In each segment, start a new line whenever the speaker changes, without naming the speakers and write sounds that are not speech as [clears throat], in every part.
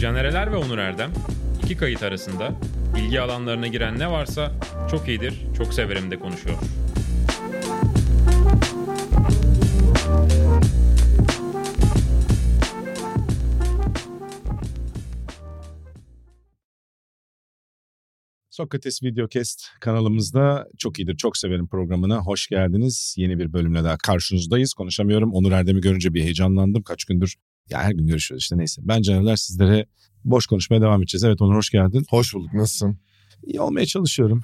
Caner Eler ve Onur Erdem iki kayıt arasında ilgi alanlarına giren ne varsa çok iyidir, çok severim de konuşuyor.
Sokrates Videocast kanalımızda çok iyidir, çok severim programına. Hoş geldiniz. Yeni bir bölümle daha karşınızdayız. Konuşamıyorum. Onur Erdem'i görünce bir heyecanlandım. Kaç gündür ya her gün görüşüyoruz işte neyse. Ben Canerler sizlere boş konuşmaya devam edeceğiz. Evet Onur hoş geldin.
Hoş bulduk nasılsın?
İyi olmaya çalışıyorum.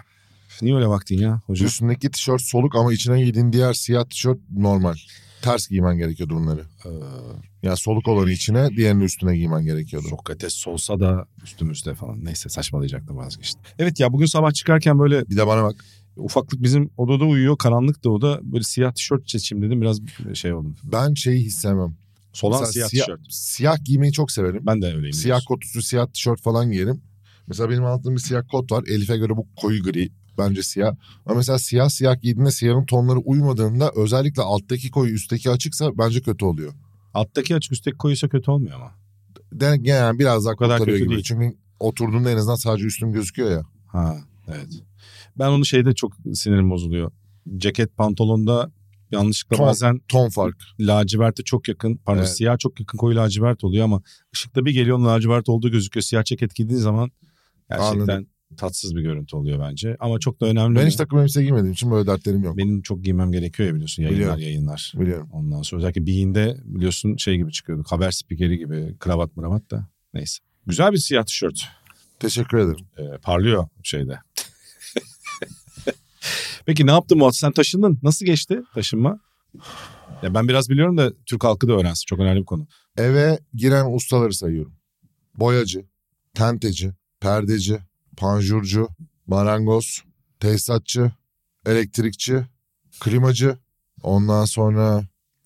Niye öyle baktın ya hocam?
Üstündeki tişört soluk ama içine giydiğin diğer siyah tişört normal. Ters giymen gerekiyordu bunları.
Ee,
Ya soluk olanı içine diğerinin üstüne giymen gerekiyordu.
Sokrates olsa da üstümüzde falan. Neyse saçmalayacaktım vazgeçtim. Evet ya bugün sabah çıkarken böyle
Bir de bana bak.
ufaklık bizim odada uyuyor. Karanlık da oda. Böyle siyah tişört seçeyim dedim. Biraz şey oldum.
Ben şeyi hissemem.
Solan
Mesela
siyah, tişört.
Siyah giymeyi çok severim.
Ben de öyleyim.
Siyah kot üstü siyah tişört falan giyerim. Mesela benim aldığım bir siyah kot var. Elif'e göre bu koyu gri. Bence siyah. Ama mesela siyah siyah giydiğinde siyahın tonları uymadığında özellikle alttaki koyu üstteki açıksa bence kötü oluyor.
Alttaki açık üstteki koyuysa kötü olmuyor ama.
De, yani biraz daha
O kadar
kurtarıyor
kötü
gibi.
değil.
Çünkü oturduğunda en azından sadece üstüm gözüküyor ya.
Ha evet. Ben onu şeyde çok sinirim bozuluyor. Ceket pantolonda yanlışlıkla
Ton.
bazen
Ton fark.
laciverte çok yakın pardon
Evet.
siyah çok yakın koyu lacivert oluyor ama ışıkta bir geliyor onun lacivert olduğu gözüküyor. Siyah ceket giydiğin zaman gerçekten
Anladım.
tatsız bir görüntü oluyor bence. Ama çok da önemli.
Ben hiç takım elbise giymediğim için böyle dertlerim yok.
Benim çok giymem gerekiyor ya biliyorsun yayınlar
Biliyorum.
yayınlar.
Biliyorum.
Ondan sonra özellikle Bean'de biliyorsun şey gibi çıkıyorduk haber spikeri gibi kravat mıravat da neyse. Güzel bir siyah tişört.
Teşekkür ederim.
Ee, parlıyor şeyde. [laughs] Peki ne yaptın Murat? Sen taşındın. Nasıl geçti taşınma? Ya ben biraz biliyorum da Türk halkı da öğrensin. Çok önemli bir konu.
Eve giren ustaları sayıyorum. Boyacı, tenteci, perdeci, panjurcu, marangoz, tesisatçı, elektrikçi, klimacı, ondan sonra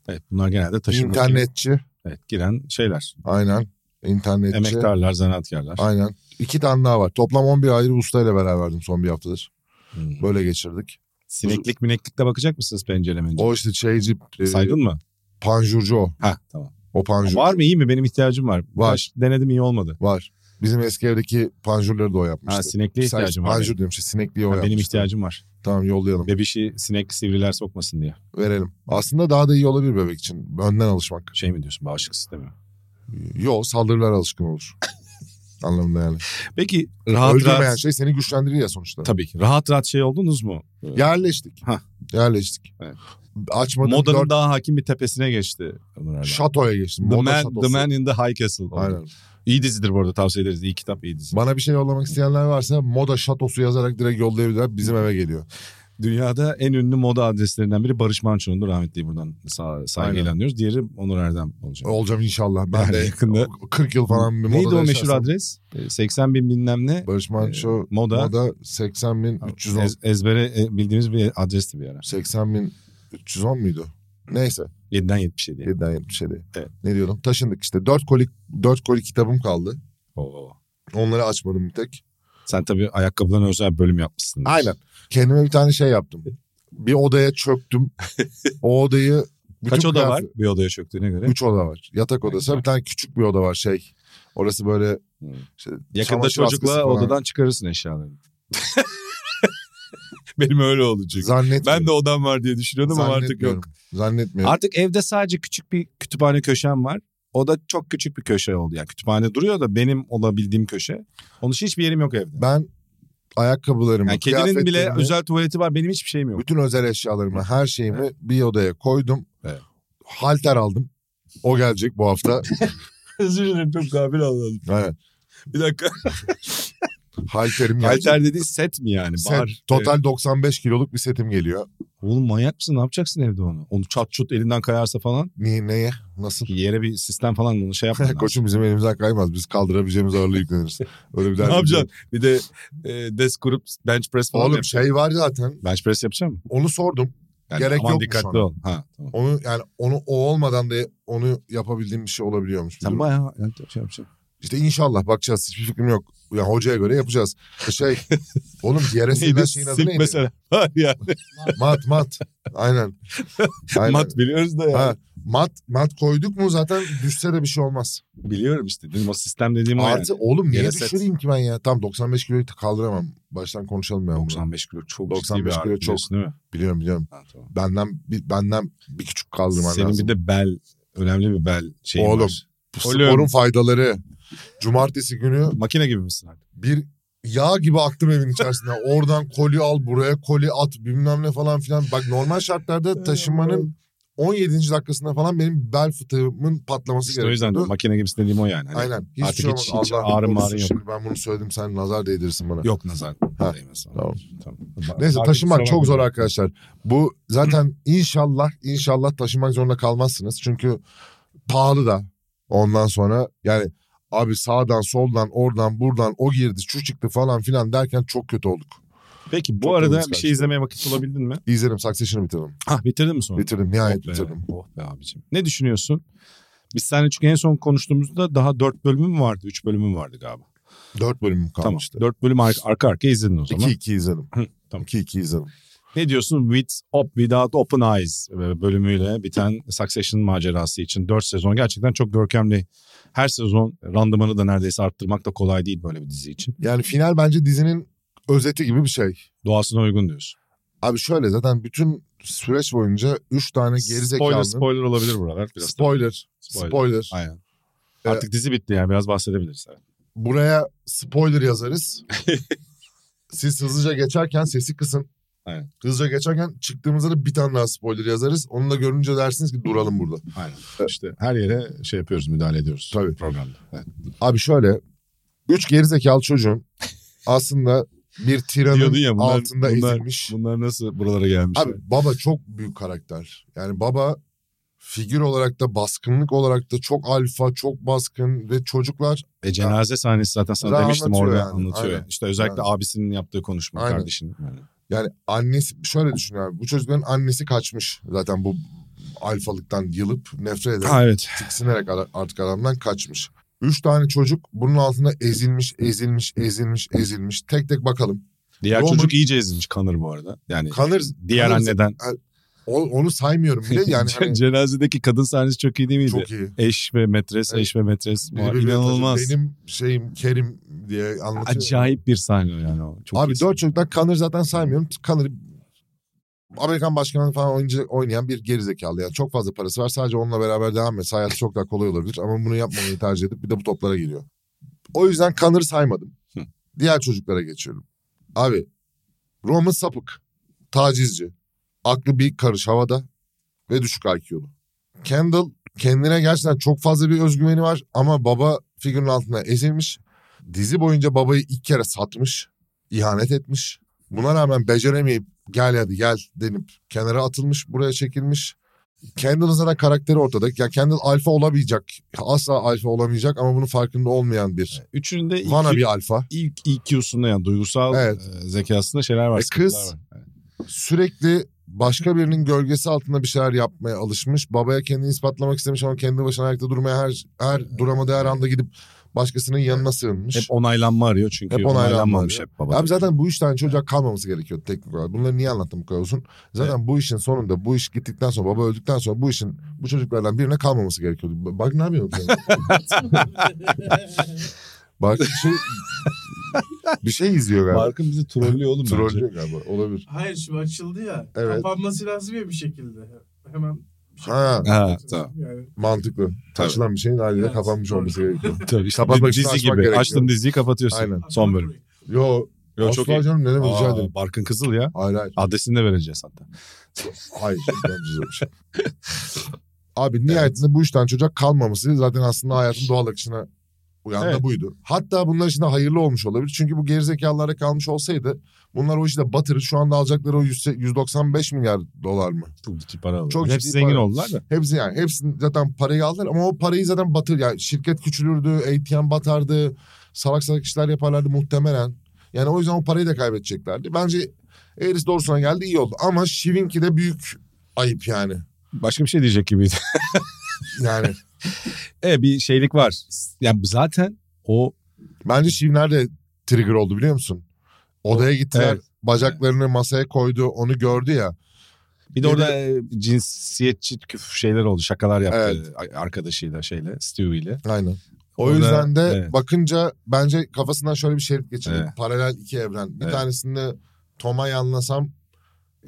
Evet bunlar genelde taşınma.
internetçi,
Evet, giren şeyler.
aynen internetçi,
Emektarlar, zanaatkarlar.
aynen. İki tane daha var. Toplam 11 ayrı ustayla beraberdim son bir haftadır.
Hmm.
Böyle geçirdik.
Sineklik mineklikte bakacak mısınız pencere mence?
O işte şeyci, e,
Saydın mı?
panjurcu o.
Ha tamam.
O panjur
Var mı iyi mi? Benim ihtiyacım var. Birkaç Denedim iyi olmadı.
var. Bizim eski evdeki panjurları da o yapmıştı.
Ha sinekliğe
Sen-
ihtiyacım var.
Panjur diyorum şey sinekliği o
Ha, benim
yapmıştı.
ihtiyacım var.
Tamam yollayalım.
Bebişi sinek sivriler sokmasın diye.
Verelim. Aslında daha da iyi olabilir bebek için. Önden alışmak.
Şey mi diyorsun bağışıklık sistemi?
Yo saldırılara
[laughs]
alışkın olur. Anlamında yani.
Peki rahat
Öldürmeyen
rahat.
şey seni güçlendirir ya sonuçta.
Tabii ki. Rahat rahat şey oldunuz mu?
Yerleştik.
Hah.
Yerleştik.
Evet.
Açmadım
Modanın
dört
daha hakim bir tepesine geçti. Onur Erdem.
şatoya geçtim.
the,
Moda
man,
şatosu.
the Man in the High Castle. oldu.
Aynen.
İyi dizidir bu arada tavsiye ederiz. İyi kitap, iyi dizi.
Bana bir şey yollamak isteyenler varsa moda şatosu yazarak direkt yollayabilirler. Bizim eve geliyor.
Dünyada en ünlü moda adreslerinden biri Barış Manço'nun rahmetliyi buradan sa- saygıyla anıyoruz. Diğeri Onur Erdem olacak.
Olacağım inşallah. Ben
Yani
de
yakında.
40 yıl falan bir
Neydi
modada
o meşhur
yaşarsam.
adres? Ee, 80 bin bilmem ne.
Barış Manço
Ee, moda.
moda 80 bin 310.
Ez- ezbere e, bildiğimiz bir adresti bir ara.
80 bin 310 muydu? Neyse.
7'den 77'ye.
7'den 77'ye.
Evet.
Ne diyordum? Taşındık işte. 4 koli, 4 koli kitabım kaldı.
Oo.
Onları açmadım bir tek.
Sen tabii ayakkabıdan özel bölüm yapmışsın.
Aynen. Kendime bir tane şey yaptım. Bir odaya çöktüm.
[laughs]
o odayı... bütün
Kaç oda var
kıyafet-
bir odaya çöktüğüne göre?
Üç oda var. Yatak
Evet,
odası.
güzel.
Bir tane küçük bir oda var şey. Orası böyle...
Hı.
Işte,
Yakında
çamaşır askısı
çocukla
falan.
odadan çıkarırsın eşyalarını. [laughs] Benim öyle oldu çünkü.
Zannetmiyorum.
Ben de odam var diye düşünüyordum ama artık yok.
Zannetmiyorum. Zannetmiyorum.
Artık evde sadece küçük bir kütüphane köşem var. O da çok küçük bir köşe oldu. Yani kütüphane duruyor da benim olabildiğim köşe. Onun için hiçbir yerim yok evde.
ben ayakkabılarımı,
Yani kedinin bile
kıyafetlerimi-
özel tuvaleti var. Benim hiçbir şeyim yok.
Bütün özel eşyalarımı, her şeyimi bir odaya koydum.
Evet.
Halter aldım. O gelecek bu
[laughs]
hafta.
[laughs] Özür dilerim çok kabil anladım.
Evet.
Bir [laughs] dakika.
Halterim gelecek.
Halter dediğin set mi yani?
Set,
Bar.
total 95 kiloluk bir setim geliyor.
Oğlum manyak mısın? Ne yapacaksın evde onu? Onu çat çut elinden kayarsa falan.
Niye, neye? Nasıl?
Yere bir sistem falan onu şey [laughs] yapman lazım.
[laughs] Koçum bizim elimizden kaymaz. Biz kaldırabileceğimiz ağırlığı yükleniriz. Öyle bir
ne
derdim
yapacaksın?
yok.
Bir de e, desk kurup bench press falan
Oğlum
yap.
şey var zaten.
Bench press yapacağım mı?
Onu sordum. Gerek
aman
yokmuş
dikkatli
ona.
ol. Ha, tamam.
Onu yani onu o olmadan da onu yapabildiğim bir şey olabiliyormuş. Bir
Sen
durum.
bayağı şey yapacaksın.
İşte inşallah bakacağız. Hiçbir fikrim yok. Ya hocaya göre yapacağız. Şey
[laughs]
oğlum yere serilen şeyin adı
Silk
neydi?
mesela. [laughs] Var ya.
Mat mat. Aynen. Aynen.
Mat biliyoruz da yani.
Ha, Mat mat koyduk mu zaten düşse de bir şey olmaz.
Biliyorum işte dedim o sistem dediğim o yani.
Artı oğlum niye
Yere set.
düşüreyim ki ben ya? Tam 95 kiloyu kaldıramam. Baştan konuşalım ya. bunu.
95 kilo çok
95
95
kilo
kilo
çok.
değil mi?
Biliyorum biliyorum.
Ha, tamam.
Benden bir, benden bir küçük kaldırman
Senin
lazım.
bir de bel önemli bir bel şeyin
Oğlum.
var.
Bu
Oğlum.
Sporun faydaları. Cumartesi günü
Makine gibi misin artık?
bir yağ gibi aktım evin içerisinde. Oradan koli al buraya koli at bilmem ne falan filan. Bak normal şartlarda taşınmanın 17. dakikasında falan benim bel fıtığımın patlaması
İşte o
gerekiyordu.
yüzden makine gibisin dediğim o yani. Hani
Aynen. Hiç
Artık
şey
hiç-
olmadı.
hiç
Allah'ım
ağrım
korusun.
ağrım yok.
Şimdi ben bunu söyledim sen nazar değdirsin bana.
Yok nazar.
Ha,
Değmez.
tamam.
tamam.
Neyse
Abi,
taşınmak
kusura
çok zor
bakma.
arkadaşlar. Bu zaten inşallah inşallah taşınmak zorunda kalmazsınız. Çünkü pahalı da ondan sonra yani abi sağdan soldan oradan buradan o girdi şu çıktı falan filan derken çok kötü olduk.
Peki bu
Çok
arada
yalnız
bir şey izlemeye vakit bulabildin mi?
İzledim Succession'ı bitirdim.
Ah bitirdin mi sonra?
Bitirdim nihayet
oh be,
bitirdim.
Oh be abicim. Ne düşünüyorsun? Biz seninle çünkü en son konuştuğumuzda daha dört bölümü mü vardı? Üç bölümü mü vardı galiba?
Dört bölümüm
Tamam.
kalmıştı.
Dört bölüm ar- arka arkaya izledin o zaman.
İki iki izledim.
Hı, tamam.
İki iki izledim.
Ne diyorsun? With Up Without Open Eyes e, bölümüyle biten Succession macerası için 4 sezon gerçekten çok görkemli. Her sezon randımanı da neredeyse arttırmak da kolay değil böyle bir dizi için.
Yani final bence dizinin özeti gibi bir şey.
Doğasına uygun diyorsun.
Abi şöyle zaten bütün süreç boyunca üç tane
Spoiler
gerizekalının
spoiler olabilir buralar. Biraz
spoiler,
Spoiler.
spoiler.
Aynen.
Ee,
Artık dizi bitti yani biraz bahsedebiliriz. evet.
buraya
[laughs]
spoiler yazarız. Siz hızlıca geçerken sesi kısın.
Aynen.
Hızlıca geçerken çıktığımızda da bir tane daha spoiler yazarız. Onu da görünce dersiniz ki duralım burada.
Aynen. İşte her yere şey yapıyoruz müdahale ediyoruz.
e, Tabii.
Programda. Evet.
Abi şöyle. Üç gerizekalı çocuğun aslında bir tiranın
Diyordun ya bunlar-
altında
bunlar- şey.
ezilmiş.
Bunlar nasıl buralara gelmiş?
Abi baba çok büyük karakter. Yani baba figür olarak da baskınlık olarak da çok alfa, çok baskın ve çocuklar
Ve E, cenaze sahnesi zaten sana
Zaten
demiştim
anlatıyor
orada
yani,
anlatıyor.
aynen.
yani. İşte özellikle abisinin yaptığı konuşma
Aynen.
kardeşinin. Yani.
Yani annesi şöyle düşün abi. Bu çocukların annesi kaçmış zaten bu alfalıktan yılıp nefret ederek,
Ha evet.
tiksinerek ara- artık adamdan kaçmış. Üç tane çocuk bunun altında ezilmiş, ezilmiş, ezilmiş, ezilmiş. Tek tek bakalım.
Diğer
Roman-
çocuk iyice ezilmiş kanır bu arada. Yani
Kanır,
diğer
kanır-
anneden.
O- onu saymıyorum
[laughs]
bile yani. hani
Cenazedeki kadın sahnesi çok iyi değil miydi?
çok iyi.
Eş ve metres,
Evet.
eş ve metres.
Biri birbirine
İnanılmaz.
taşıyor. Benim şeyim Kerim diye anlatıyor.
Acayip bir sahne o yani o. Çok
Abi
iyi.
dört çocuktan Kanır zaten saymıyorum. Kanır Amerikan başkanı falan oyuncu, oynayan bir gerizekalı. Yani çok fazla parası var. Sadece onunla beraber devam etse hayatı çok daha kolay olabilir. Ama bunu yapmamayı tercih edip bir de bu toplara geliyor. O yüzden Kanır'ı saymadım.
Hı.
Diğer çocuklara geçiyorum. Abi Roman sapık. Tacizci. Aklı bir karış havada ve düşük IQ'lu. Kendall kendine gerçekten çok fazla bir özgüveni var ama baba figürün altına ezilmiş. Dizi boyunca babayı iki kere satmış ihanet etmiş. Buna rağmen beceremeyip gel hadi gel denip kenara atılmış, buraya çekilmiş. Kendall'ın zaten karakteri ortada. Yani Kendall alfa olamayacak. Asla alfa olamayacak ama bunun farkında olmayan bir.
Üçünde
Vana
ilk,
bir alfa.
ilk EQ'sunda yani duygusal
Evet.
e, zekasında şeyler var.
E,
sıkıntılar
kız-
var. Evet.
Sürekli başka birinin gölgesi altında bir şeyler yapmaya alışmış. Babaya kendini ispatlamak istemiş ama kendi başına ayakta durmaya her, her duramadığı her anda gidip başkasının yanına sığınmış.
Hep onaylanma arıyor çünkü.
Hep onaylanma
onaylanmamış
arıyor.
hep baba.
Abi zaten bu üç tane çocuğa kalmaması gerekiyor teknik olarak. Bunları niye anlattım bu kadar uzun? Zaten bu işin sonunda bu iş gittikten sonra baba öldükten sonra bu işin bu çocuklardan birine kalmaması gerekiyordu. Ba- Bak ne yapıyorum
[laughs]
sen? Bak bir şey, bir şey izliyor galiba.
Markın bizi trollüyor oğlum bence.
Trollüyor galiba olabilir.
Hayır şimdi açıldı ya.
Evet.
Kapanması lazım ya bir şekilde. Hemen bir şekilde
Ha.
Ha tamam.
Yani.
Mantıklı. Taşılan bir şeyin haliyle
Evet.
kapanmış olması gerekiyor.
Tabii işte
Kapatmak için
dizi
açmak
gibi.
gerekiyor.
Açtın diziyi kapatıyorsun.
Aynen.
Son bölüm.
Yo,
[laughs] Yo,
asla
çok iyi.
canım ne demek rica
Aa,
ederim.
Barkın Kızıl ya.
Hayır hayır.
Adresini de vereceğiz hatta.
Hayır. yapacağız öyle bir şey.
[laughs]
Abi nihayetinde bu üç tane çocuk kalmaması zaten aslında hayatın doğal akışına uyan da
Evet.
buydu. Hatta bunlar için de hayırlı olmuş olabilir. Çünkü bu gerizekalılara kalmış olsaydı bunlar o işi de batırır. Şu anda alacakları o 100 195 milyar dolar mı?
Çok ciddi para alıyor.
Çok
Hepsi
ciddi
zengin
para.
oldular da.
Hepsi yani hepsini zaten parayı aldılar ama o parayı zaten batır. Yani şirket küçülürdü, ATM batardı, salak salak işler yaparlardı muhtemelen. Yani o yüzden o parayı da kaybedeceklerdi. Bence Eris doğrusuna geldi iyi oldu. Ama Şivinki de büyük ayıp yani.
Başka bir şey diyecek gibiydi. [laughs]
Yani
e bir şeylik var. Yani zaten o
Bence Şivner de trigger oldu biliyor musun? Odaya gittiler,
Evet.
bacaklarını masaya koydu, onu gördü ya.
Bir de orada e, cinsiyetçi küf şeyler oldu. Şakalar yaptı
Evet.
a- arkadaşıyla şeyle Stewie'yle.
Aynen. O
Orada-
yüzden de
evet.
bakınca bence kafasından şöyle bir şerit geçirdi.
Evet.
Paralel iki evren. Bir
Evet.
tanesinde Tom'a yanlasam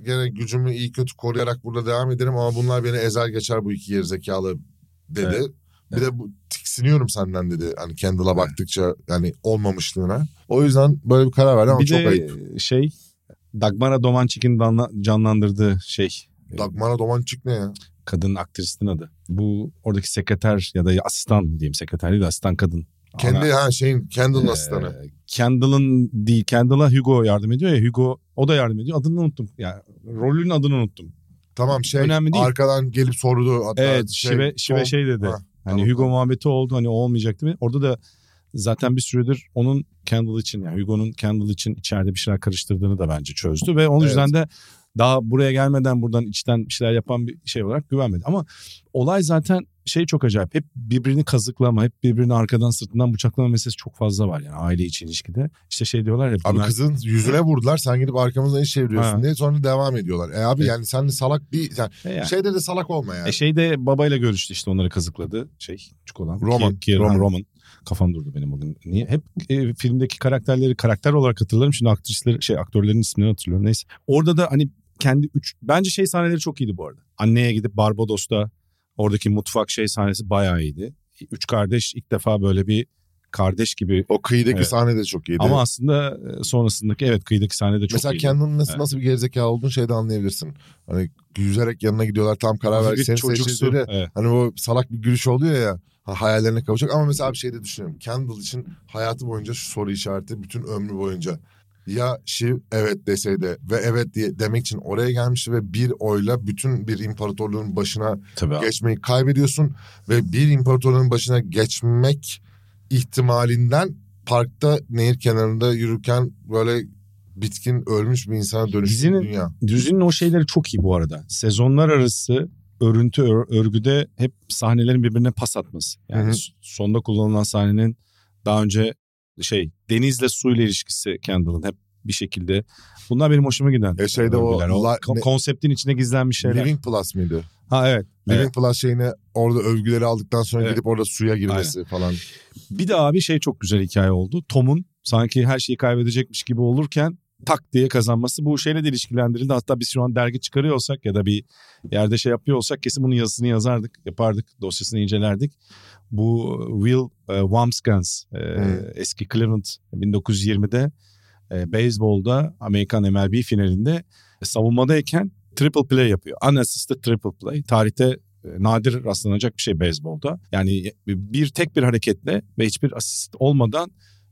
gene gücümü iyi kötü koruyarak burada devam ederim ama bunlar beni ezer geçer bu iki gerizekalı dedi.
Evet.
Bir de bu tiksiniyorum senden dedi. Hani Kendall'a baktıkça yani olmamışlığına. O yüzden böyle bir karar verdi ama
bir
çok
de
ayıp.
şey Dagmara Domançik'in danla- canlandırdığı şey
Dagmara Domancik ne ya?
kadın aktristin adı. Bu oradaki sekreter ya da asistan diyeyim sekreter değil de asistan kadın.
Kendi
Ana-
ha şeyin Kendall'ın
Ee,
asistanı.
Kendall'ın değil Kendall'a Hugo yardım ediyor ya Hugo o da yardım ediyor adını unuttum. Yani rolün adını unuttum.
Tamam şey
önemli değil.
arkadan gelip sordu. Hatta
Evet Şive, Şive
Tom-
şey dedi.
Ha,
hani
tamam,
Hugo
tamam.
muhabbeti oldu hani o olmayacaktı mı? Orada da zaten bir süredir onun Kendall için yani Hugo'nun Kendall için içeride bir şeyler karıştırdığını da bence çözdü ve onun
Evet.
yüzden de daha buraya gelmeden buradan içten bir şeyler yapan bir şey olarak güvenmedi. Ama olay zaten şey çok acayip. Hep birbirini kazıklama, hep birbirini arkadan sırtından bıçaklama meselesi çok fazla var yani aile içi ilişkide. İşte şey diyorlar ya.
Abi
bunlar-
kızın yüzüne vurdular sen gidip arkamızdan iş çeviriyorsun
Ha.
diye sonra devam ediyorlar. E abi
Evet.
yani sen de salak bir yani
E yani.
şeyde de salak olma yani.
E şey de babayla görüştü işte onları kazıkladı şey küçük olan.
Roman,
Ki- ki-
Roman.
Roman. Roman. Kafam durdu benim bugün. Niye? Hep e, filmdeki karakterleri karakter olarak hatırlarım. Şimdi aktrisleri şey aktörlerin isimlerini hatırlıyorum. Neyse. Orada da hani kendi üç bence şey sahneleri çok iyiydi bu arada. Anneye gidip Barbados'ta oradaki mutfak şey sahnesi bayağı iyiydi. Üç kardeş ilk defa böyle bir kardeş gibi
o kıyıdaki
Evet.
sahne de çok iyiydi.
ama aslında e, sonrasındaki evet kıyıdaki sahne de çok
Mesela
iyiydi.
kendinin nasıl,
Evet.
nasıl bir gerizekalı olduğunu şeyde anlayabilirsin. Hani yüzerek yanına gidiyorlar tam karar
Hafif
verdi.
bir
Seni
çocuksu.
seçtiğinde
Evet.
hani o salak bir gülüş oluyor ya ha- hayallerine kavuşacak. Ama mesela bir şey de düşünüyorum. Kendall için hayatı boyunca şu soru işareti bütün ömrü boyunca. Ya Shiv evet deseydi ve evet diye demek için oraya gelmişti ve bir oyla bütün bir imparatorluğun başına
Tabii abi.
geçmeyi kaybediyorsun ve bir imparatorluğun başına geçmek ihtimalinden parkta nehir kenarında yürürken böyle bitkin ölmüş bir insana dönüştü
Dizinin-
dünya.
Düzünün o şeyleri çok iyi bu arada. Sezonlar arası örüntü ör- örgüde hep sahnelerin birbirine pas atması. Yani
Hı hı.
s- sonda kullanılan sahnenin daha önce şey denizle suyla ilişkisi Kendall'ın hep bir şekilde. Bunlar benim hoşuma giden.
E şeyde o
örgüler.
la-
ko-
ne-
konseptin içinde gizlenmiş şeyler.
Living Plus mıydı?
Ha evet.
Living
Evet.
Plus şeyine orada övgüleri aldıktan sonra
Evet.
gidip orada suya girmesi falan.
Bir de abi şey çok güzel hikaye oldu. Tom'un sanki her şeyi kaybedecekmiş gibi olurken tak diye kazanması bu şeyle de ilişkilendirildi. Hatta biz şu an dergi çıkarıyor olsak ya da bir yerde şey yapıyor olsak kesin bunun yazısını yazardık, yapardık, dosyasını incelerdik. Bu Will e, Wamskans e,
Hı.
eski Cleveland 1920'de e, beyzbolda Amerikan MLB finalinde savunmadayken triple play yapıyor. Unassisted triple play. Tarihte e, nadir rastlanacak bir şey beyzbolda. Yani bir tek bir hareketle ve hiçbir asist olmadan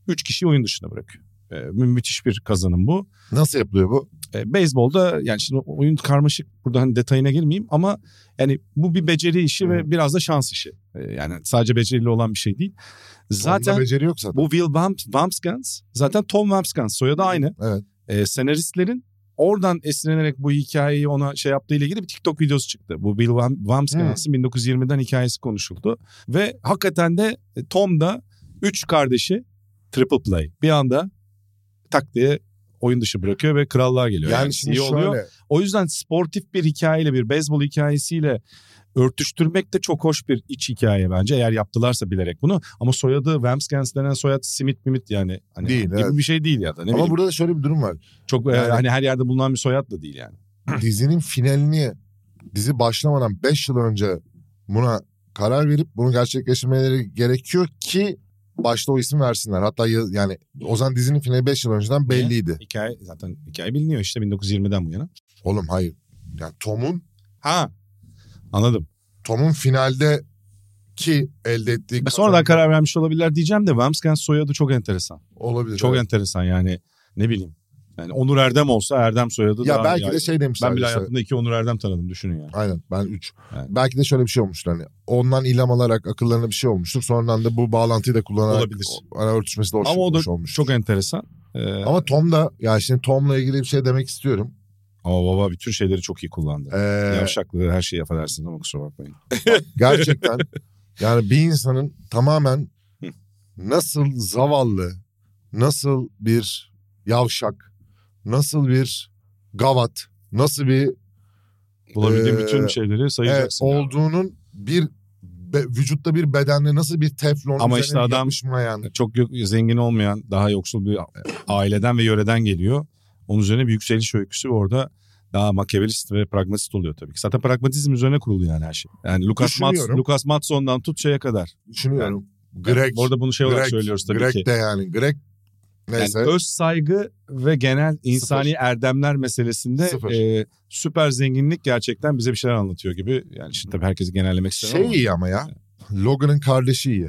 3 kişi oyun dışına bırakıyor. E, mü- müthiş bir kazanım bu.
Nasıl yapılıyor bu?
E, beyzbolda yani şimdi oyun karmaşık burada hani detayına girmeyeyim ama yani bu bir beceri işi
Hı.
ve biraz da şans işi. E, yani sadece beceriyle olan bir şey değil.
Onda
Zaten
beceri yok zaten.
bu Will Wamps- Wampskans zaten Tom Wampskans soyadı aynı
Evet.
e, senaristlerin oradan esinlenerek bu hikayeyi ona şey yaptığıyla ilgili bir TikTok videosu çıktı. Bu Bill Wam- Wamsgans'ın 1920'den hikayesi konuşuldu. Ve hakikaten de e, Tom da 3 kardeşi triple play. Bir anda tak diye oyun dışı bırakıyor ve krallığa geliyor.
Yani, şimdi
iyi
şöyle
oluyor. O yüzden sportif bir hikayeyle bir beyzbol hikayesiyle örtüştürmek de çok hoş bir iç hikaye bence. Eğer yaptılarsa bilerek bunu. Ama soyadı Wamskans denen soyad Smith Mimit yani. Hani
Değil,
gibi
evet.
bir şey değil ya da. Ne
ama
bileyim.
burada da şöyle bir durum var.
Çok e,
Yani-
hani her yerde bulunan bir soyad da değil yani.
dizinin finalini dizi başlamadan 5 yıl önce buna karar verip bunu gerçekleştirmeleri gerekiyor ki başta o isim versinler. Hatta ya- yani o zaman dizinin finali 5 yıl önceden belliydi.
Hikaye zaten hikaye biliniyor işte 1920'den bu yana.
Oğlum hayır. Yani Tom'un
Ha. Anladım.
Tom'un finalde ki elde ettiği
Ve sonradan karar vermiş olabilirler diyeceğim de Wamskens soyadı çok enteresan.
olabilir.
Çok
evet.
enteresan yani ne bileyim. Yani Onur Erdem olsa Erdem soyadı
Ya
daha
belki
yaygın.
de şey demişler.
ben bile
işte.
hayatımda iki Onur Erdem tanıdım düşünün yani.
Aynen ben 3.
Evet.
Belki de şöyle bir şey olmuştur hani. Ondan ilham alarak akıllarına bir şey olmuştur. Sonradan da bu bağlantıyı da kullanarak
Olabilir.
o- Hani örtüşmesi de hoş,
Ama o da
hoş olmuş.
çok enteresan. Ee, ama,
Ama Tom da ya şimdi Tom'la ilgili bir şey demek istiyorum.
baba bütün şeyleri çok iyi kullandı.
Ee,
Yavşaklığı her şeyi affedersiniz ama kusura bakmayın. [laughs]
gerçekten yani bir insanın tamamen nasıl zavallı, nasıl bir yavşak, nasıl bir gavat, nasıl bir
Bulabildiğin
Ee,
bütün şeyleri
Evet,
sayacaksın. galiba.
olduğunun bir be- vücutta bir bedenle nasıl bir teflon
Ama
üzerine
işte adam-
yapmış mı yani?
Çok yok- zengin olmayan, daha yoksul bir aileden ve yöreden geliyor. Onun üzerine bir yükseliş öyküsü ve orada daha makyavelist ve pragmatist oluyor tabii ki. Zaten pragmatizm üzerine kurulu yani her şey. Yani Lucas, Mats,
Düşünüyorum.
Lucas Matson'dan tut şeye kadar.
Düşünüyorum. Greg.
Orada bunu şey olarak
Greg-
söylüyoruz tabii
Greg
ki.
de yani. Greg
Yani
neyse.
öz saygı ve genel insani erdemler meselesinde
Sıfır.
e, süper zenginlik gerçekten bize bir şeyler anlatıyor gibi. Yani şimdi tabii herkesi genellemek
şey
istemem
iyi ama ya. Logan'ın kardeşi iyi.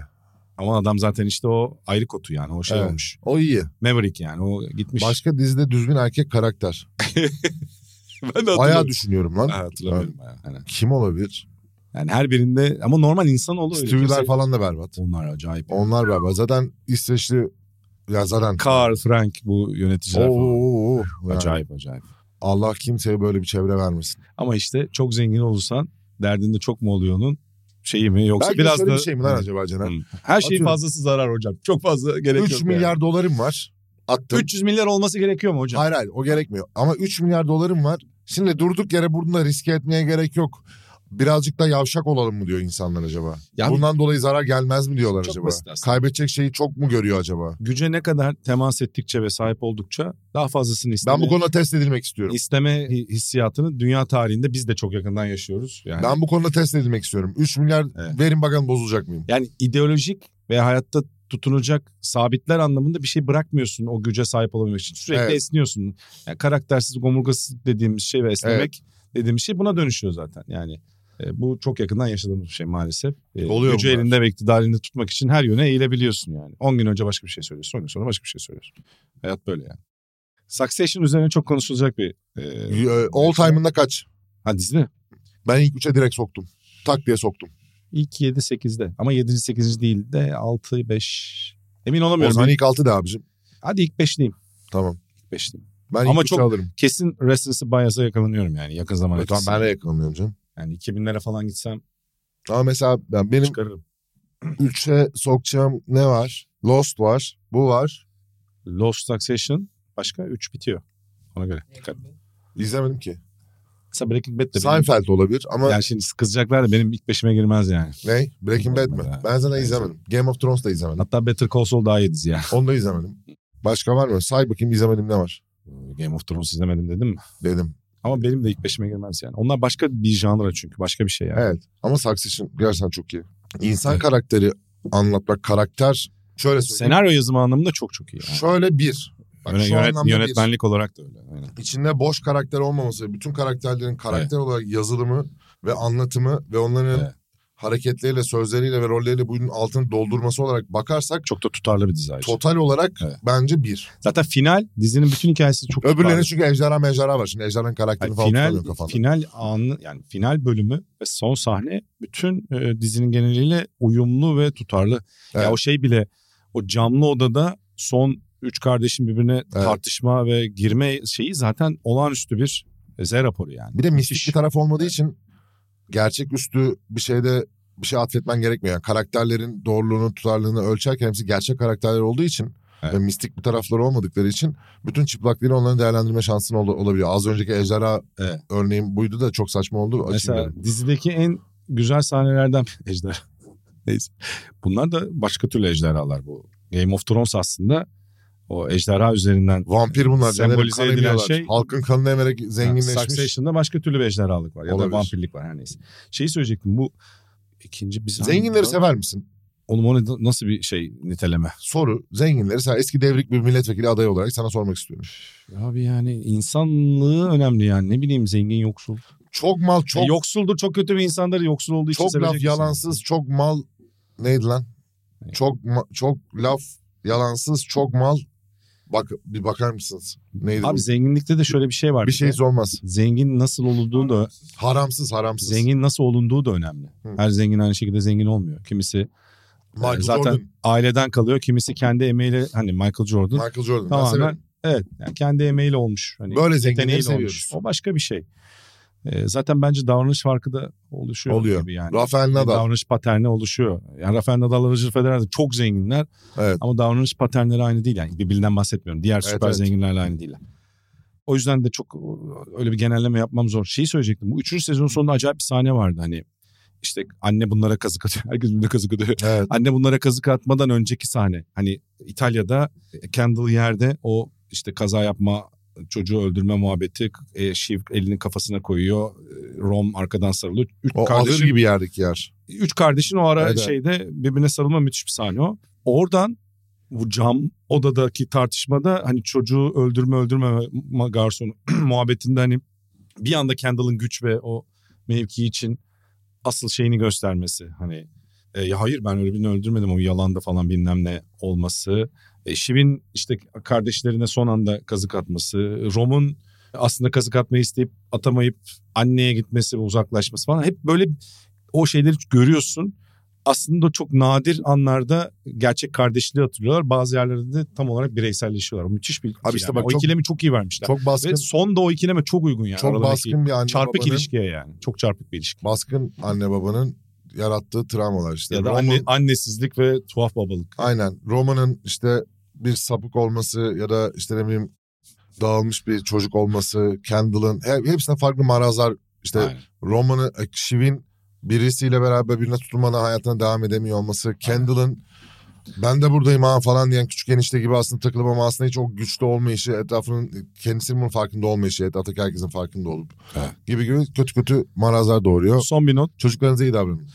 ama, ama adam zaten işte o ayrı kotu yani o şey
Evet.
olmuş.
O iyi.
Maverick yani o gitmiş.
Başka dizide düzgün erkek karakter.
[laughs] ben de
Bayağı
hatırlamıyorum.
düşünüyorum lan.
Ha, hatırlamıyorum. bayağı. Yani.
Kim olabilir?
yani her birinde ama normal insan oluyor. öyle.
Stewie'ler
Kimse-
falan da berbat.
Onlar acayip.
Onlar berbat. Zaten İsveçli ya zaten.
Karl Frank bu
Oo,
yöneticiler falan.
oo, oo. Yani
Acayip acayip.
Allah kimseye böyle bir çevre vermesin.
Ama işte çok zengin olursan derdinde çok mu oluyor onun şeyi mi yoksa
Belki
biraz
biraz
da
bir şey mi lan acaba Caner?
Hı. Her şeyin
Atıyorum.
fazlası zarar hocam. Çok fazla gerek yok.
3
yani.
milyar dolarım var. Attım.
300 milyar olması gerekiyor mu hocam?
Hayır hayır o gerekmiyor. Ama 3 milyar dolarım var. Şimdi durduk yere bunu da riske etmeye gerek yok. Birazcık da yavşak olalım mı diyor insanlar acaba?
Ya
Bundan dolayı zarar gelmez mi diyorlar
Çok
acaba?
basit aslında.
Kaybedecek şeyi çok mu görüyor acaba?
güce ne kadar temas ettikçe ve sahip oldukça daha fazlasını isteme.
Ben bu konuda test edilmek istiyorum.
isteme hi- hissiyatını dünya tarihinde biz de çok yakından yaşıyoruz. Yani
Ben bu konuda test edilmek istiyorum. 3 milyar
Evet.
verin bakalım bozulacak mıyım?
yani ideolojik ve hayatta tutunacak sabitler anlamında bir şey bırakmıyorsun o güce sahip olabilmek için. Sürekli
Evet.
esniyorsun. Yani karaktersiz, omurgasız dediğimiz şey ve esnemek dediğimiz şey buna dönüşüyor zaten. Yani e, bu çok yakından yaşadığımız bir şey maalesef. E,
Oluyor
gücü
bunlar.
elinde ve iktidarını tutmak için her yöne eğilebiliyorsun yani. 10 gün önce başka bir şey söylüyorsun, 10 gün sonra başka bir şey söylüyorsun. Hayat böyle yani. Succession üzerine çok konuşulacak bir... E,
Ee, All time'ında kaç?
ha dizi mi?
Ben ilk 3'e direkt soktum. Tak diye soktum.
İlk 7-8'de ama 7-8 değil de 6-5... Emin
O
olamıyorum. Hani
zaman ilk 6 da abicim.
Hadi ilk 5 diyeyim.
Tamam.
İlk 5 diyeyim.
Ben
Ama
ilk 3'e
çok-
alırım.
Kesin Residency Bias'a yakalanıyorum yani yakın zaman.
E, tamam
etkisi.
ben de yakalanıyorum canım.
Yani 2000'lere falan gitsem
Ama mesela ben benim
çıkarırım.
3'e sokacağım ne var? Lost var. Bu var.
Lost Succession başka 3 bitiyor. Ona göre dikkat.
İzlemedim ki.
Mesela Breaking Bad de benim,
Seinfeld olabilir ama
yani şimdi kızacaklar da benim ilk beşime girmez yani.
ne? Breaking Bad
Olmadı
mi?
ha.
Ben zaten
Ben
izlemedim. Game of Thrones
[laughs]
da izlemedim.
Hatta Better Call Saul daha iyi dizi ya. [laughs]
Onu da izlemedim. Başka var mı? Say bakayım izlemedim ne var?
Game of Thrones izlemedim dedim mi?
Dedim.
Ama benim de ilk beşime girmez yani. Onlar başka bir janra çünkü başka bir şey yani.
Evet. Ama Succession gerçekten çok iyi. İnsan
Evet.
karakteri anlatmak karakter şöyle söyleyeyim.
Senaryo yazımı anlamında çok çok iyi. Yani.
Şöyle bir. Bak
Yöne-
şu
yönet-
anlamda bir.
yönetmenlik olarak da öyle. Aynen.
İçinde boş karakter olmaması, bütün karakterlerin karakter olarak yazılımı ve anlatımı ve onların
Evet.
hareketleriyle, sözleriyle ve rolleriyle bunun altını doldurması olarak bakarsak
Çok da tutarlı bir dizi. ayrıca.
total olarak
Evet.
bence bir.
Zaten final dizinin bütün hikayesi çok tutarlı.
Öbürlerinin çünkü ejderha mejderha var. Şimdi ejderhanın karakterini
Hayır,
falan
final
tutamıyorum kafanda.
final anı yani final bölümü ve son sahne bütün e, dizinin geneliyle uyumlu ve tutarlı. Ya
Evet.
o şey bile o camlı odada son üç kardeşin birbirine tartışma ve girme şeyi zaten olağanüstü bir e, Z raporu yani.
Bir de mistik
Müthiş.
bir taraf olmadığı için gerçek üstü bir şeyde bir şey atfetmen gerekmiyor. Yani karakterlerin doğruluğunu, tutarlılığını ölçerken hepsi gerçek karakterler olduğu için
Evet.
ve mistik bir tarafları olmadıkları için bütün çıplaklığıyla onları değerlendirme şansın ol- olabiliyor. Az önceki ejderha
Evet.
örneğim buydu da çok saçma oldu. Açayım
Mesela
dedim.
dizideki en güzel sahnelerden [laughs] ejderha. Neyse. Bunlar da başka türlü ejderhalar bu. Game of Thrones aslında o ejderha üzerinden
Vampir bunlar.
Sembolize
Sembolize
edilen
edilen
şey-
şey. Halkın kanını emerek zenginleşmiş.
Succession'da başka türlü bir ejderhalık var. Ya
Olabilir.
da vampirlik var her neyse. Şeyi söyleyecektim bu ikinci biz...
Zenginleri sever misin?
Oğlum o ne- nasıl bir şey niteleme?
Soru. Zenginleri sen eski devrik bir milletvekili adayı olarak sana sormak istiyorum.
Abi yani insanlığı önemli yani. Ne bileyim zengin yoksul.
Çok mal çok
E, yoksuldur çok kötü bir insandır. Yoksul olduğu için
çok
sevecek
laf
misin?
yalansız çok mal neydi lan?
Ne?
Çok ma- çok laf yalansız çok mal bak bir bakar mısınız? Neydi
Abi
bu?
zenginlikte de şöyle bir şey var.
Bir
de.
şey olmaz.
Zengin nasıl olunduğu da
Haramsız haramsız.
zengin nasıl olunduğu da önemli.
Hı.
Her zengin aynı şekilde zengin olmuyor. Kimisi
Michael
e, zaten
Jordan.
aileden kalıyor. Kimisi kendi emeğiyle hani Michael Jordan.
Michael Jordan. Ben
Tamamen
severim.
Evet yani kendi emeğiyle olmuş. Hani
Böyle zenginleri
yeteneğiyle
seviyoruz.
olmuş. O başka bir şey. Ee, zaten bence davranış farkı da oluşuyor
Oluyor.
gibi yani.
Rafael
Bir
Nadal.
Davranış paterni oluşuyor. Yani Rafael Nadal, Roger Federer de çok zenginler.
Evet.
Ama davranış paternleri aynı değil. Yani birbirinden bahsetmiyorum. Diğer
Evet,
süper
evet.
zenginlerle aynı değiller. O yüzden de çok öyle bir genelleme yapmam zor. Şeyi söyleyecektim. Bu üçüncü sezonun sonunda acayip bir sahne vardı. Hani işte anne bunlara kazık atıyor. [laughs] Herkes birbirine kazık atıyor.
Evet.
Anne bunlara kazık atmadan önceki sahne. Hani İtalya'da e, Kendall yerde o işte kaza yapma çocuğu öldürme muhabbeti e, Shiv elinin kafasına koyuyor. E, Rom arkadan sarılıyor. Üç
O
kardeşin-
ağır gibi yerdeki yer.
üç kardeşin o ara
Evet, evet.
şeyde birbirine sarılma müthiş bir sahne o. Oradan bu cam odadaki tartışmada hani çocuğu öldürme öldürme ma- garson [clears throat] muhabbetinde hani bir anda Kendall'ın güç ve o mevki için asıl şeyini göstermesi hani e, ya hayır ben öyle birini öldürmedim o yalanda falan bilmem ne olması. E, Shiv'in işte kardeşlerine son anda kazık atması. Rom'un aslında kazık atmayı isteyip atamayıp anneye gitmesi ve uzaklaşması falan. Hep böyle o şeyleri görüyorsun. Aslında çok nadir anlarda gerçek kardeşliği hatırlıyorlar. Bazı yerlerde de tam olarak bireyselleşiyorlar. O müthiş bir ikilem.
Abi işte bak
o
çok-
ikilemi çok iyi vermişler.
Çok baskın,
Ve son da o ikileme çok uygun yani.
çok
Aralarındaki
baskın bir anne
Çarpık
babanın,
ilişkiye yani. Çok çarpık bir ilişki.
baskın anne babanın yarattığı travmalar işte.
ya da
Roman-
anne, annesizlik ve tuhaf babalık.
Aynen. Roma'nın işte bir sapık olması ya da işte ne bileyim dağılmış bir çocuk olması, Kendall'ın he- hepsinde farklı marazlar. İşte
Aynen.
Roma'nın, Shiv'in birisiyle beraber birine tutulmadan hayatına devam edemiyor olması, Kendall'ın ben de buradayım ha falan diyen küçük enişte gibi aslında takılıp ama aslında hiç o güçlü olmayışı, etrafının e, kendisinin bunun farkında olmayışı, etraftaki herkesin farkında olup
Evet.
gibi gibi kötü kötü marazlar doğuruyor.
Son bir not.
Çocuklarınıza iyi davranın.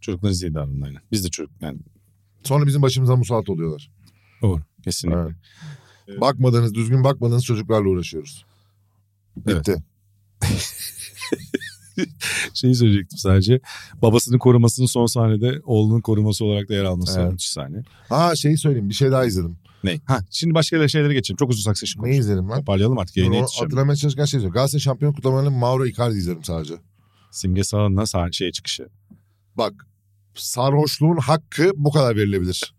Çocukların ziyade aynen. Biz de çocuk yani.
Sonra bizim başımıza musallat oluyorlar.
Doğru. Kesinlikle.
Evet. Bakmadığınız, düzgün bakmadığınız çocuklarla uğraşıyoruz. Bitti.
Şeyi söyleyecektim sadece. Babasının korumasının son sahnede oğlunun koruması olarak da yer alması.
Evet.
Evet. sahne.
Ha şeyi söyleyeyim, bir şey daha izledim.
Ne? Ha, şimdi başka şeylere geçelim. Çok uzun saksı
Neyi izledim lan?
Toparlayalım artık
Dur,
yayına
onu
yetişeceğim.
Hatırlamaya çalışırken şey söyleyeyim. Galatasaray şampiyon kutlamalarını Mauro Icardi izledim sadece.
Simge Sağ'ın sahne şeye çıkışı.
Bak, sarhoşluğun hakkı bu kadar verilebilir.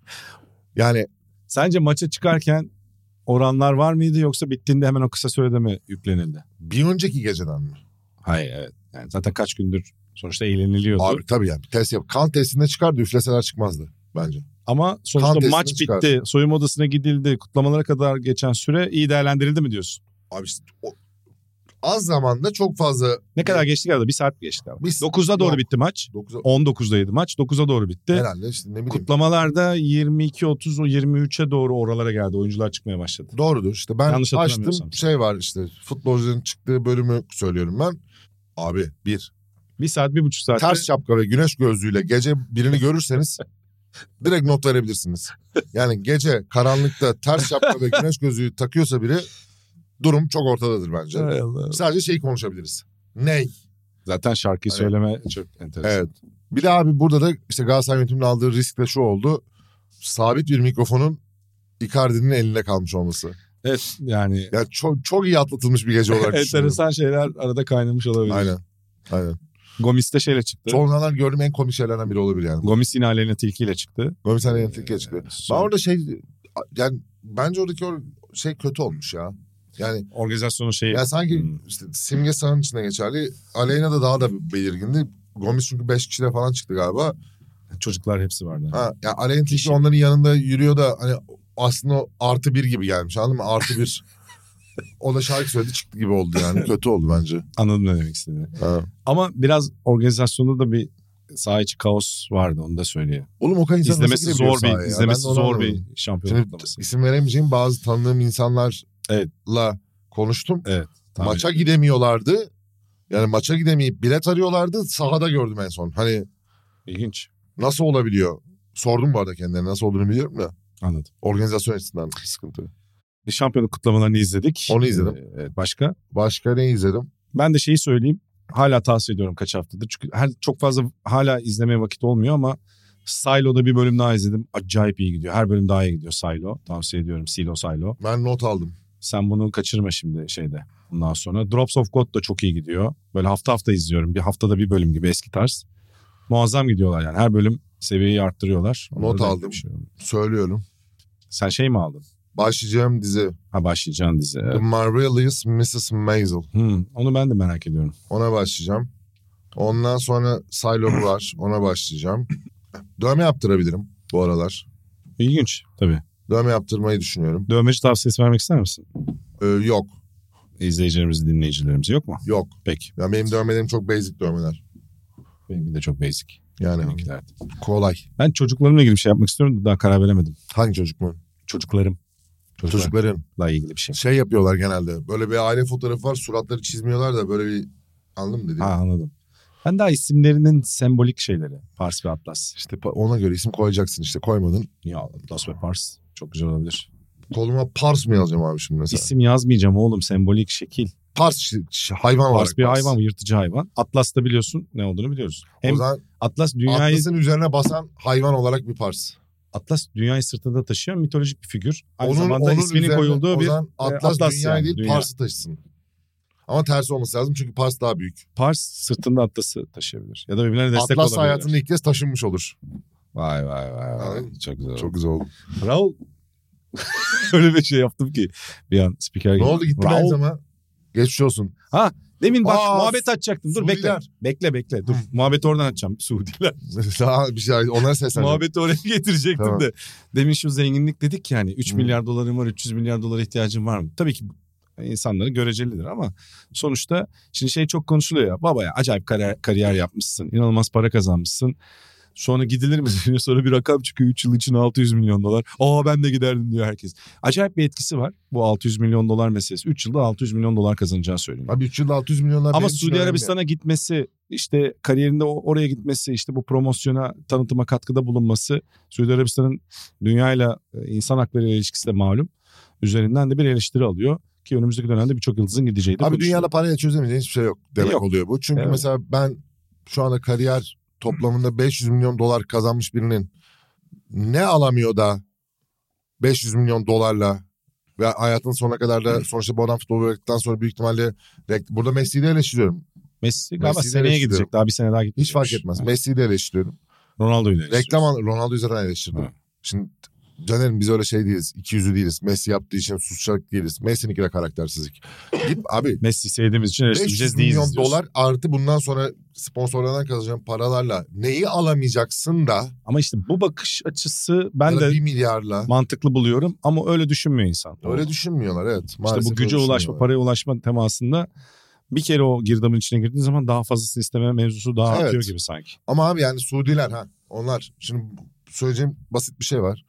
Yani
Sence maça çıkarken oranlar var mıydı yoksa bittiğinde hemen o kısa sürede mi yüklenildi?
bir önceki geceden mi?
Hayır evet. Yani zaten kaç gündür sonuçta eğleniliyordu.
Abi tabii yani test yap. Kan testinde çıkardı, üfleseler çıkmazdı bence.
Ama sonuçta
Kan
maç
testini
bitti. Soyunma odasına gidildi. Kutlamalara kadar geçen süre iyi değerlendirildi mi diyorsun?
Abi işte o- az zamanda çok fazla
Ne kadar geçti galiba? Bir saat mi geçti galiba?
Bir s-
9'a doğru
Yok.
bitti maç.
9
19'daydı maç. 9'a doğru bitti.
herhalde işte ne bileyim.
Kutlamalarda 22-30 o 23'e doğru oralara geldi. Oyuncular çıkmaya başladı.
Doğrudur işte ben
Yanlış hatırlamıyorsam.
açtım şey var işte futbolcuların çıktığı bölümü söylüyorum ben. Abi bir
Bir saat, bir buçuk saat.
ters şapka ve güneş gözlüğüyle gece
[laughs]
birini görürseniz direkt not verebilirsiniz. Yani gece karanlıkta ters şapka ve
[laughs]
güneş gözlüğü takıyorsa biri durum çok ortadadır bence. Sadece şeyi konuşabiliriz. Ney?
Zaten şarkıyı
Evet.
söyleme çok enteresan.
Evet. Bir de abi burada da işte Galatasaray yönetiminin aldığı risk de şu oldu. Sabit bir mikrofonun Icardi'nin elinde kalmış olması.
Evet, yani
Yani çok, çok iyi atlatılmış bir gece olarak düşünüyorum.
[laughs] enteresan şeyler arada kaynamış olabilir.
Aynen. Aynen.
Gomis de şeyle çıktı.
Son zamanlar gördüğüm en komik şeylerden biri olabilir yani.
Gomis yine Aleyna Tilki ile çıktı. Ee,
Böyle bir tane yenilik geçti. Ben
Son-
orada şey yani bence oradaki o şey kötü olmuş ya. Yani
Organizasyonun şeyi.
ya sanki
Hmm.
işte simge sahanın içinde geçerli. Aleyna da daha da belirgindi. Gomis çünkü 5 kişiyle falan çıktı galiba.
Çocuklar hepsi vardı.
Ha, ya Aleyna Tilki onların yanında yürüyor da hani aslında o artı bir gibi gelmiş anladın mı?
[laughs]
Artı bir. o da şarkı söyledi çıktı gibi oldu yani. kötü oldu bence.
Anladım ne demek istediğini.
Ha.
Ama biraz organizasyonda da bir saha içi kaos vardı onu da söyleyeyim.
Oğlum o kadar insan nasıl
İzlemesi
girebiliyor
zor
sahaya ya?
bir
Ben de
izlemesi
onu
zor
anlamadım.
bir şampiyon
Şimdi
kutlaması.
isim veremeyeceğim bazı tanıdığım insanlarla
Evet.
konuştum.
Tahmin
maça
ediyorum.
gidemiyorlardı. Yani maça gidemeyip bilet arıyorlardı. Sahada gördüm en son. Hani
İlginç.
nasıl olabiliyor? Sordum bu arada kendilerine nasıl olduğunu biliyorum da.
Anladım.
Organizasyon açısından sıkıntı.
Bir şampiyonluk kutlamalarını izledik.
Onu izledim.
Ee, Evet, başka?
Başka ne izledim?
Ben de şeyi söyleyeyim. Hala tavsiye ediyorum kaç haftadır. Çünkü her, çok fazla hala izlemeye vakit olmuyor ama Silo'da bir bölüm daha izledim. Acayip iyi gidiyor. Her bölüm daha iyi gidiyor Silo. Tavsiye ediyorum Silo Silo.
Ben not aldım.
Sen bunu kaçırma şimdi şeyde. Bundan sonra Drops of God da çok iyi gidiyor. Böyle hafta hafta izliyorum. Bir haftada bir bölüm gibi eski tarz. Muazzam gidiyorlar yani. Her bölüm seviyeyi arttırıyorlar. Onlara
Not
da
aldım.
bir şey yok.
Söylüyorum.
Sen şey mi aldın?
Başlayacağım dizi.
Ha başlayacağın dizi.
The
Evet.
Marvelous Mrs. Maisel.
Hmm, onu ben de merak ediyorum.
Ona başlayacağım. Ondan sonra Silo var. Ona başlayacağım. Dövme yaptırabilirim bu aralar.
İlginç tabii.
Dövme yaptırmayı düşünüyorum.
Dövmeci tavsiyesi vermek ister misin?
Ee, yok.
izleyicilerimizi, dinleyicilerimizi yok mu?
Yok.
Peki.
Ya benim dövmelerim çok basic dövmeler.
Benimki de çok basic.
Yani
Benimkiler de.
kolay.
Ben çocuklarımla ilgili bir şey yapmak istiyorum da daha karar veremedim.
Hangi çocuk mu?
Çocuklarım. Çocuklarla
Çocukların.
ilgili bir şey.
Şey yapıyorlar genelde. Böyle bir aile fotoğrafı var. Suratları çizmiyorlar da böyle bir anladın mı dediğim?
Ha anladım. Ben daha isimlerinin sembolik şeyleri. Pars ve Atlas.
İşte pa- ona göre isim koyacaksın işte koymadın.
Ya Atlas ve Pars. Çok güzel olabilir.
Koluma Pars mı yazacağım abi şimdi mesela?
İsim yazmayacağım oğlum. Sembolik şekil.
Pars şi- şi- hayvan var.
Pars bir hayvan, yırtıcı hayvan. Atlas da biliyorsun ne olduğunu biliyoruz. Hem
O zaman
Atlas dünyayı
Atlas'ın üzerine basan hayvan olarak bir Pars.
Atlas dünyayı sırtında taşıyan mitolojik bir figür. Aynı
onun,
zamanda
onun
ismini
üzerine
koyulduğu
o
bir e,
zaman Atlas,
Atlas
dünya
yani,
değil
dünya.
Pars'ı taşısın. Ama tersi olması lazım çünkü Pars daha büyük.
Pars sırtında Atlas'ı taşıyabilir. Ya da birbirlerine destek
Atlas
olabilir.
hayatında ilk kez taşınmış olur.
Vay vay vay. vay.
Abi,
Çok güzel.
Çok güzel oldu.
Raul. [laughs] Öyle bir şey yaptım ki bir an spiker
Ne
gibi.
oldu gitti
Raul.
ben ama. Geçmiş olsun. [laughs]
Demin bak
Aa,
muhabbet açacaktım. Dur bekle.
Suudiler.
Bekle bekle. Dur. muhabbeti oradan açacağım. Suudiler.
Daha bir şey onlara sesleneceğim.
muhabbeti oraya [laughs] getirecektim
Tamam.
de. Demin şu zenginlik dedik yani 3
Hı.
milyar dolarım var 300 milyar dolara ihtiyacım var mı? Tabii ki insanların görecelidir ama sonuçta şimdi şey çok konuşuluyor ya baba ya acayip kariyer, kariyer yapmışsın inanılmaz para kazanmışsın. Sonra gidilir mi [laughs] diyor sonra bir rakam çıkıyor 3 yıl için 600 milyon dolar. Aa ben de giderdim diyor herkes. Acayip bir etkisi var bu 600 milyon dolar meselesi. 3 yılda 600 milyon dolar kazanacağı söyleniyor.
Abi 3 yılda 600 milyonlar
Ama
benim için
Suudi
önemli.
Arabistan'a gitmesi işte kariyerinde o- oraya gitmesi işte bu promosyona tanıtıma katkıda bulunması Suudi Arabistan'ın dünyayla e, insan hakları ile ilişkisi de malum. Üzerinden de bir eleştiri alıyor ki önümüzdeki dönemde birçok yıldızın gideceği de
Abi
konuşuluyor.
dünyada parayla çözemeyeceğin hiçbir şey yok demek
Yok.
oluyor bu. Çünkü
Evet.
mesela ben şu anda kariyer toplamında 500 milyon dolar kazanmış birinin ne alamıyor da 500 milyon dolarla ve hayatın sonuna kadar da sonuçta bu adam futbol bıraktıktan sonra büyük ihtimalle rek- burada Messi'yi de eleştiriyorum.
Messi galiba
Messi'yi de
seneye
eleştiriyorum.
gidecek daha bir sene daha gidecek.
Hiç fark etmez. Messi'yi de eleştiriyorum.
Ronaldo'yu da
Reklam
eleştiriyoruz.
al- Ronaldo'yu zaten eleştirdim.
Ha.
Şimdi Caner'im biz öyle şey değiliz. İkiyüzlü değiliz. Messi yaptığı için susacak değiliz. Messi'ninki de karaktersizlik.
[laughs]
Git abi
Messi sevdiğimiz için eleştireceğiz
500
değiliz
milyon
diyorsun.
dolar artı bundan sonra sponsorlardan kazanacağın paralarla neyi alamayacaksın da
Ama işte bu bakış açısı
ben
ben de
1 milyarla
mantıklı buluyorum ama öyle düşünmüyor insan.
öyle düşünmüyorlar evet.
İşte
Maalesef
bu güce
öyle şey
ulaşma,
düşünmüyorlar.
paraya ulaşma temasında bir kere o girdabın içine girdiğin zaman daha fazlasını isteme mevzusu daha
Evet.
artıyor gibi sanki.
Ama abi yani Suudiler ha onlar şimdi söyleyeceğim basit bir şey var.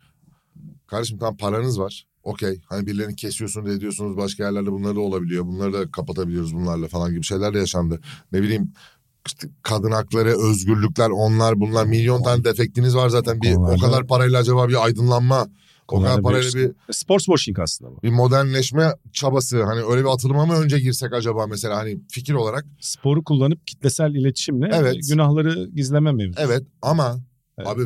Kardeşim tam paranız var. Okey hani birilerini kesiyorsunuz ediyorsunuz başka yerlerde bunlar da olabiliyor. Bunları da kapatabiliyoruz bunlarla falan gibi şeyler de yaşandı. Ne bileyim işte kadın hakları, özgürlükler onlar bunlar milyon tane defektiniz var zaten. Bir, o
Konularda-
kadar parayla acaba bir aydınlanma, o
Konularda
kadar
bir-
parayla bir
E, Sports washing aslında bu.
bir modernleşme çabası hani öyle bir atılıma mı önce girsek acaba mesela hani fikir olarak
Sporu kullanıp kitlesel iletişimle e,
Evet.
günahları gizleme mevzusu.
evet ama
Evet.
abi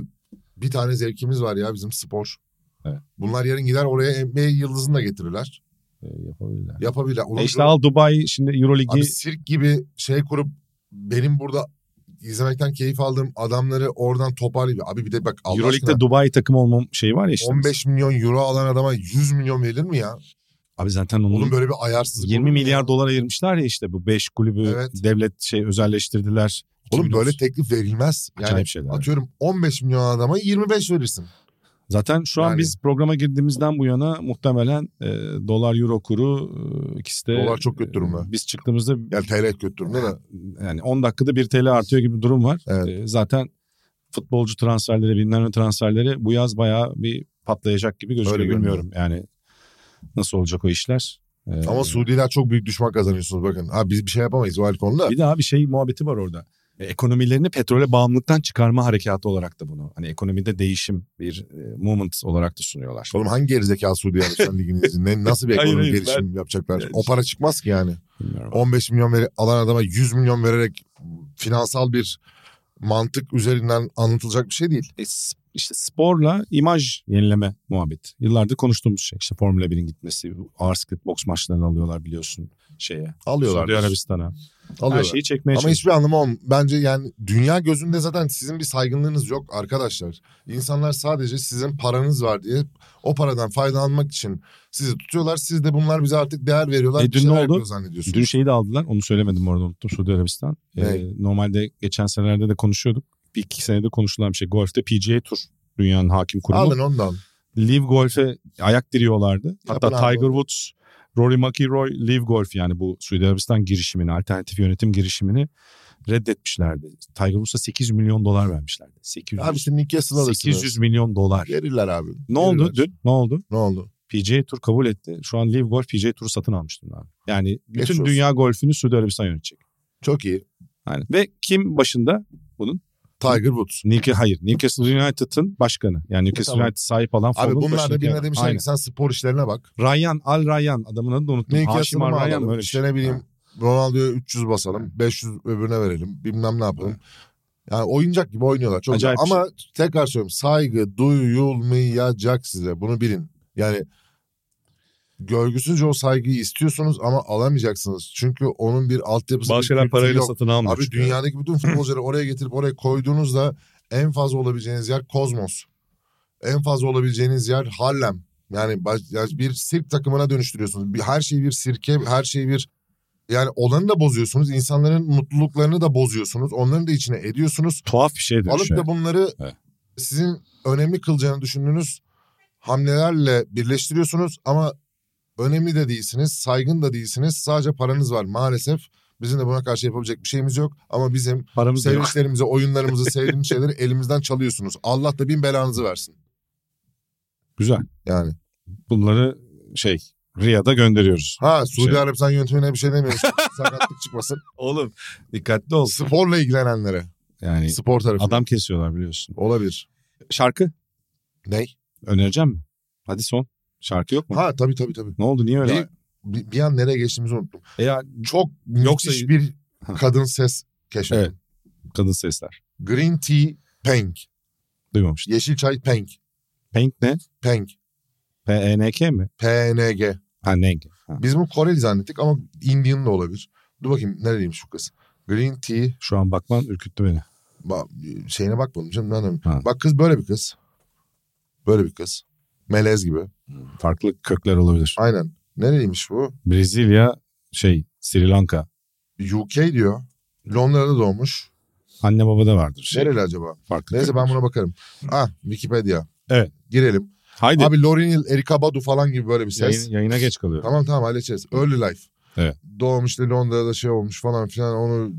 bir tane zevkimiz var ya bizim spor.
Evet.
Bunlar yarın gider oraya NBA yıldızını da getirirler.
Ee, yapabilirler.
Yapabilir. Ulan
E işte
şu-
al Dubai şimdi Euroligi
E, abi sirk gibi şey kurup benim burada izlemekten keyif aldığım adamları oradan toparlayıp abi bir de bak Allah aşkına
Euroleague'de Dubai takımı olmam şeyi var ya işte.
15 milyon euro alan adama 100 milyon verilir mi ya?
Abi zaten onun
Oğlum böyle bir ayarsızlık.
20
olur mu ya?
milyar dolar ayırmışlar ya işte bu 5 kulübü
Evet.
devlet şey özelleştirdiler.
Oğlum
2009.
böyle teklif verilmez. Yani
acayip şeyler.
atıyorum 15 milyon adama 25 verirsin.
Zaten şu an
Yani-
biz programa girdiğimizden bu yana muhtemelen e, dolar euro kuru e, ikisi de
Dolar çok kötü durumda.
Biz çıktığımızda
Yani TL kötü durumda da.
yani 10 dakikada 1 TL artıyor gibi bir durum var.
Evet.
E, zaten futbolcu transferleri, bilmem ne transferleri bu yaz bayağı bir patlayacak gibi gözüküyor.
Öyle görünüyor.
Bilmiyorum yani nasıl olacak o işler. E,
Ama Suudiler çok büyük düşman kazanıyorsunuz bakın. Ha biz bir şey yapamayız o el konuda.
bir de abi şey muhabbeti var orada. E, ekonomilerini petrole bağımlılıktan çıkarma harekatı olarak da bunu. Hani ekonomide değişim bir e, movement olarak da sunuyorlar.
Oğlum hangi gerizekalı Suudi
[laughs]
Arabistan Ligi'nin izinde nasıl bir
Hayır,
ekonomi
hayır,
gelişim yapacaklar?
Evet.
O para çıkmaz ki yani.
Bilmiyorum.
15 milyon veri, alan adama 100 milyon vererek finansal bir mantık üzerinden anlatılacak bir şey değil.
E, s- işte sporla imaj yenileme muhabbeti. Yıllardır konuştuğumuz şey. İşte Formula 1'in gitmesi, bu ağır sıklık boks maçlarını alıyorlar biliyorsun şeye.
Alıyorlar.
Suudi Arabistan'a. Her şey
Alıyorlar.
şeyi çekmeye
Ama
çalışıyor.
hiçbir anlamı olm. Bence yani dünya gözünde zaten sizin bir saygınlığınız yok arkadaşlar. İnsanlar sadece sizin paranız var diye o paradan faydalanmak için sizi tutuyorlar. Siz de bunlar bize artık değer veriyorlar.
E,
bir
dün ne
şeyler
oldu?
yapıyor Zannediyorsunuz.
Dün şeyi de aldılar. Onu söylemedim orada unuttum. Suudi Arabistan. E,
Ne?
normalde geçen senelerde de konuşuyorduk. Bir iki senede konuşulan bir şey. Golf'te PGA Tour dünyanın hakim kurumu.
Alın ondan.
Live Golf'e ayak diriyorlardı. Hatta
Yapın abi
Tiger
onu.
Woods Rory McIlroy Live Golf yani bu Suudi Arabistan girişimini, alternatif yönetim girişimini reddetmişlerdi. Tiger Woods'a 800 milyon dolar vermişlerdi. 800,
Abi işte Nick Castle alırsın.
800 milyon dolar.
Verirler abi.
Ne oldu
Verirler.
dün? Ne oldu?
Ne oldu?
PGA Tour kabul etti. Şu an Live Golf PGA Tour'u satın almıştım abi. Yani bütün
olsun.
dünya golfünü Suudi Arabistan yönetecek.
Çok iyi.
Aynen. Ve kim başında?
Tiger Woods.
Newcastle, hayır. Newcastle United'ın başkanı. Yani Newcastle
Tamam.
United sahip olan
Abi
fonun
bunlar da
başındaki
birine
adam.
demişler
Aynen.
ki sen spor işlerine bak.
Ryan, Al Ryan. Adamın adını da unuttum.
Nick
Haşim
Castle'ı
Al
mı
Ryan mı
alalım?
öyle bir
İşte
şey.
ne bileyim Ronaldo'ya 300 basalım. 500 öbürüne verelim. Bilmem ne yapalım. Yani oyuncak gibi oynuyorlar. Çok
Acayip şey.
Ama tekrar söylüyorum. Saygı duyulmayacak size. Bunu bilin. Yani gölgüsüzce o saygıyı istiyorsunuz ama alamayacaksınız. Çünkü onun bir altyapısı bir
Bazı şeyler
kültürü
parayla
yok.
satın almıyor.
Abi
çünkü.
dünyadaki bütün futbolcuları oraya getirip oraya koyduğunuzda en fazla olabileceğiniz yer Kozmos. En fazla olabileceğiniz yer Harlem. Yani baş- ya bir sirk takımına dönüştürüyorsunuz. Bir, her şeyi bir sirke, her şeyi bir yani olanı da bozuyorsunuz. insanların mutluluklarını da bozuyorsunuz. Onların da içine ediyorsunuz.
Tuhaf bir şey
Alıp
dönüşüyor.
da bunları
Evet.
sizin önemli kılacağını düşündüğünüz hamlelerle birleştiriyorsunuz ama önemli de değilsiniz, saygın da değilsiniz. Sadece paranız var maalesef. Bizim de buna karşı yapabilecek bir şeyimiz yok ama bizim
Paramız da yok.
sevinçlerimizi, oyunlarımızı,
[laughs]
sevdiğimiz şeyleri elimizden çalıyorsunuz. Allah da bin belanızı versin.
Güzel.
Yani.
Bunları şey Riyad'a gönderiyoruz.
Ha Suudi
Şey-
Arabistan yönetimine bir
[laughs]
şey demiyoruz. Sakatlık çıkmasın.
Oğlum dikkatli ol.
Sporla ilgilenenlere.
Yani
Spor tarafı.
adam kesiyorlar biliyorsun.
Olabilir.
Şarkı
Ney?
önereceğim mi? Hadi son. Şarkı yok mu?
Ha tabii tabii tabii.
Ne oldu niye öyle?
Değil. Bir, bir an nereye geçtiğimizi unuttum.
E ya
Çok
Yoksa-
müthiş bir
Ha.
kadın ses keşfettim.
Evet. kadın sesler.
Green Tea Peng.
Duymamıştım.
Yeşil çay Peng.
Pink ne?
Peng.
P-E-N-K mi?
PNG.
Ha Neng. Ha.
Biz bunu Koreli zannettik ama Indian da olabilir. Dur bakayım nereliymiş bu kız. Green Tea
Şu an bakman ürküttü beni.
Ba- şeyine bakmadım canım. ne anlamı?
Ha.
Bak kız böyle bir kız. Böyle bir kız. Melez gibi.
Farklı kökler olabilir.
Aynen. Nereliymiş bu?
Brezilya şey Sri Lanka.
UK diyor. Londra'da doğmuş.
Anne baba da vardır. Şey,
Nereli acaba?
farklı
Neyse
kökler.
ben buna bakarım. Ah Wikipedia.
Evet.
Girelim.
Haydi
Abi Lauryn Hill, Erika Badu falan gibi böyle bir ses.
yayın- yayına geç kalıyor.
Tamam tamam halledeceğiz. Early Life.
Evet.
Doğmuş işte Londra'da şey olmuş falan filan. Onu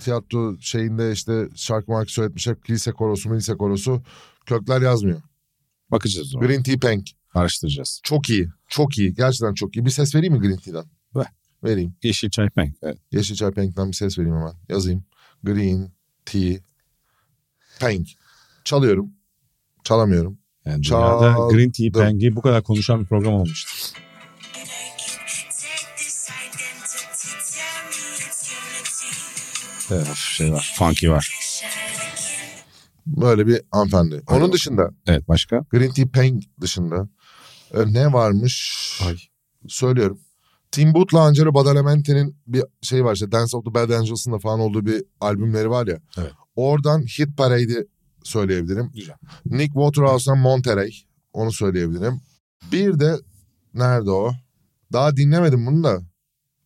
tiyatro şeyinde işte şarkı markı söyletmişler. Kilise korosu, kilise korosu. Kökler yazmıyor.
Bakacağız ona.
Green Tea Peng.
Araştıracağız.
Çok iyi. Çok iyi. Gerçekten çok iyi. Bir ses vereyim mi Green Tea'den?
Ver.
Vereyim.
Yeşil çay peng. Evet.
Yeşilçay Penk'ten bir ses vereyim hemen. Yazayım. Green Tea Penk. Çalıyorum. Çalamıyorum.
Yani
Çaldım.
dünyada Green Tea Peng'i bu kadar konuşan bir program olmuştu. Evet, hafif şey var. Funky var.
Böyle bir hanımefendi. Onun dışında
Evet başka?
Green Tea Penk dışında e, ne varmış? Söylüyorum. Timbuktu'la Angelo Badalamente'nin bir şey var işte Dance of the Bad Angels'ın da falan olduğu bir albümleri var ya.
Evet.
Oradan Hit Parade'i söyleyebilirim.
Güzel.
Nick Waterhouse'dan Monterey. Onu söyleyebilirim. Bir de nerede o? Daha dinlemedim bunu da.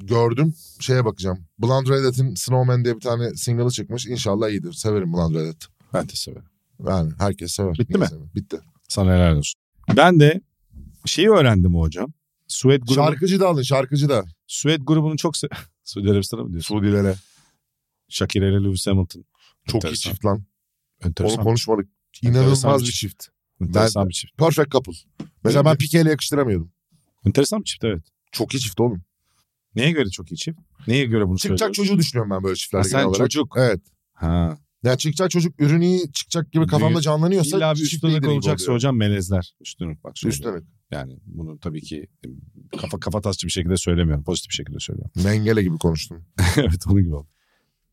Gördüm. Şeye bakacağım. Blond Redhead'in Snowman diye bir tane single'ı çıkmış. İnşallah iyidir. Severim Blond Redhead.
Ben de severim.
Yani herkes sever.
Bitti
Niye
mi?
sevmez? Bitti.
Sana helal olsun. Ben de şeyi öğrendim hocam. Sued grubu.
Şarkıcı da alın şarkıcı da.
Sued grubunun çok se- [laughs] Suudi Arabistan'a mı diyorsun?
Suudilere.
Shakira ile Lewis Hamilton.
Çok iyi
Enteresan.
çift lan. Onu
Enteresan.
konuşmadık.
Enteresan
İnanılmaz
bir
bir çift.
enteresan bir çift.
Perfect couple. Mesela ben
Öyle.
Pique'yle yakıştıramıyordum.
Enteresan bir çift evet.
Çok iyi çift oğlum.
Neye göre çok iyi çift? Neye göre bunu
Çıkacak
söylüyorsun?
çocuğu düşünüyorum ben böyle çiftler
Ha, sen
genel olarak.
çocuk.
Evet.
Ha.
Ya çıkacak çocuk ürünü iyi çıkacak gibi kafamda
Büyük.
canlanıyorsa
İlla bir
çift lider
üstünlük
gibi
olacaksa
oluyor.
hocam melezler. Üstünlük bak. söylüyorum.
Üstünlük.
Yani bunu tabii ki e, kafa kafa tasçı bir şekilde söylemiyorum. Pozitif bir şekilde söylüyorum. [laughs]
Mengele gibi konuştum.
evet onun gibi oldu.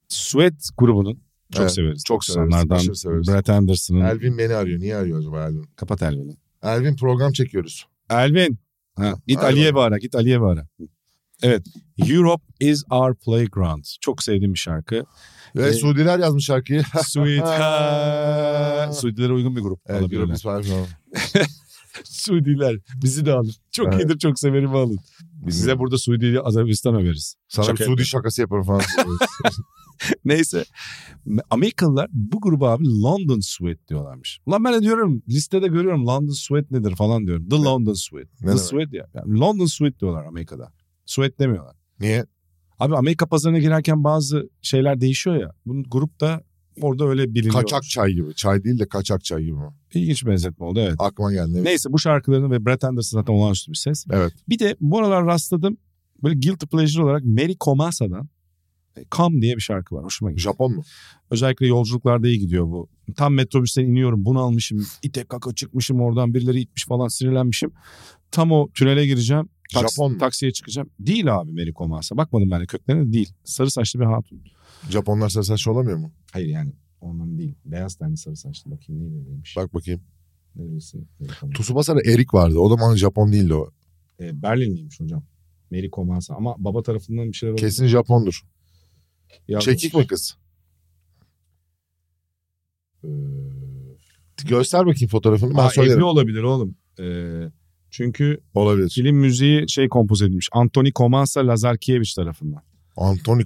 Suet grubunun çok
Evet,
severiz.
çok severiz,
90'lardan
aşırı severiz.
Brett Anderson'ın
Elvin beni arıyor. Niye arıyor acaba Elvin?
kapat Elvin'i.
Elvin program çekiyoruz.
Elvin. Ha, git
Elvin.
Ali'ye bağıra. Git Ali'ye bağıra. Evet. Europe is our playground. Çok sevdiğim bir
[laughs]
şarkı.
Ve
Ee,
Suudiler yazmış şarkıyı.
Sweet Ha. Suudilere uygun bir grup.
Evet,
alabilirler.
Europe's Five Now.
Suudiler bizi de alın. Çok
Evet.
iyidir çok severim alın. Size burada Suudi Azerbaistan veririz.
Sana
Şaka
bir Suudi şakası yaparım falan.
[laughs] Neyse. Amerikalılar bu gruba abi London Sweat diyorlarmış. Ulan ben de diyorum listede görüyorum London Sweat nedir falan diyorum. The London Sweat. The
demek?
Sweat ya. Yani London Sweat diyorlar Amerika'da. Suet demiyorlar.
Niye?
Abi Amerika pazarına girerken bazı şeyler değişiyor ya. Bunun grupta orada öyle biliniyor.
Kaçak çay gibi. Çay değil de kaçak çay gibi. mi?
İlginç bir benzetme oldu evet.
Aklıma geldi. Evet.
Neyse bu şarkılarını ve Brett Anderson zaten olağanüstü bir ses.
Evet.
Bir de bu aralar rastladım böyle guilty pleasure olarak Mary Komasa'dan e, Come diye bir şarkı var. Hoşuma gidiyor.
Japon mu?
Özellikle yolculuklarda iyi gidiyor bu. Tam metrobüsten iniyorum bunalmışım. İte kaka çıkmışım oradan birileri itmiş falan sinirlenmişim. Tam o tünele gireceğim. Taks-
Japon mu?
Taksiye çıkacağım. Değil abi Mary Komasa. Bakmadım ben de köklerine de değil. Sarı saçlı bir hatun.
Japonlar sarı saçlı olamıyor mu?
Hayır yani ondan değil. Beyaz tenli sarı saçlı. Bakayım neyle neymiş.
Bak bakayım.
Neresi? Mary Komasa.
Tsubasa'da Erik vardı. O zaman Japon değildi o.
E, Berlinliymiş hocam. Mary Komasa. Ama baba tarafından bir şeyler oldu.
Kesin Şey, Japondur.
Ya-
Çekik mi kız?
Ee,
Göster bakayım fotoğrafını. Ben
aa,
söylerim.
evli olabilir oğlum. Ee, çünkü
Olabilir.
film müziği şey kompoz edilmiş. Antoni Komasa Lazarkiewicz
[laughs]
tarafından.
Antoni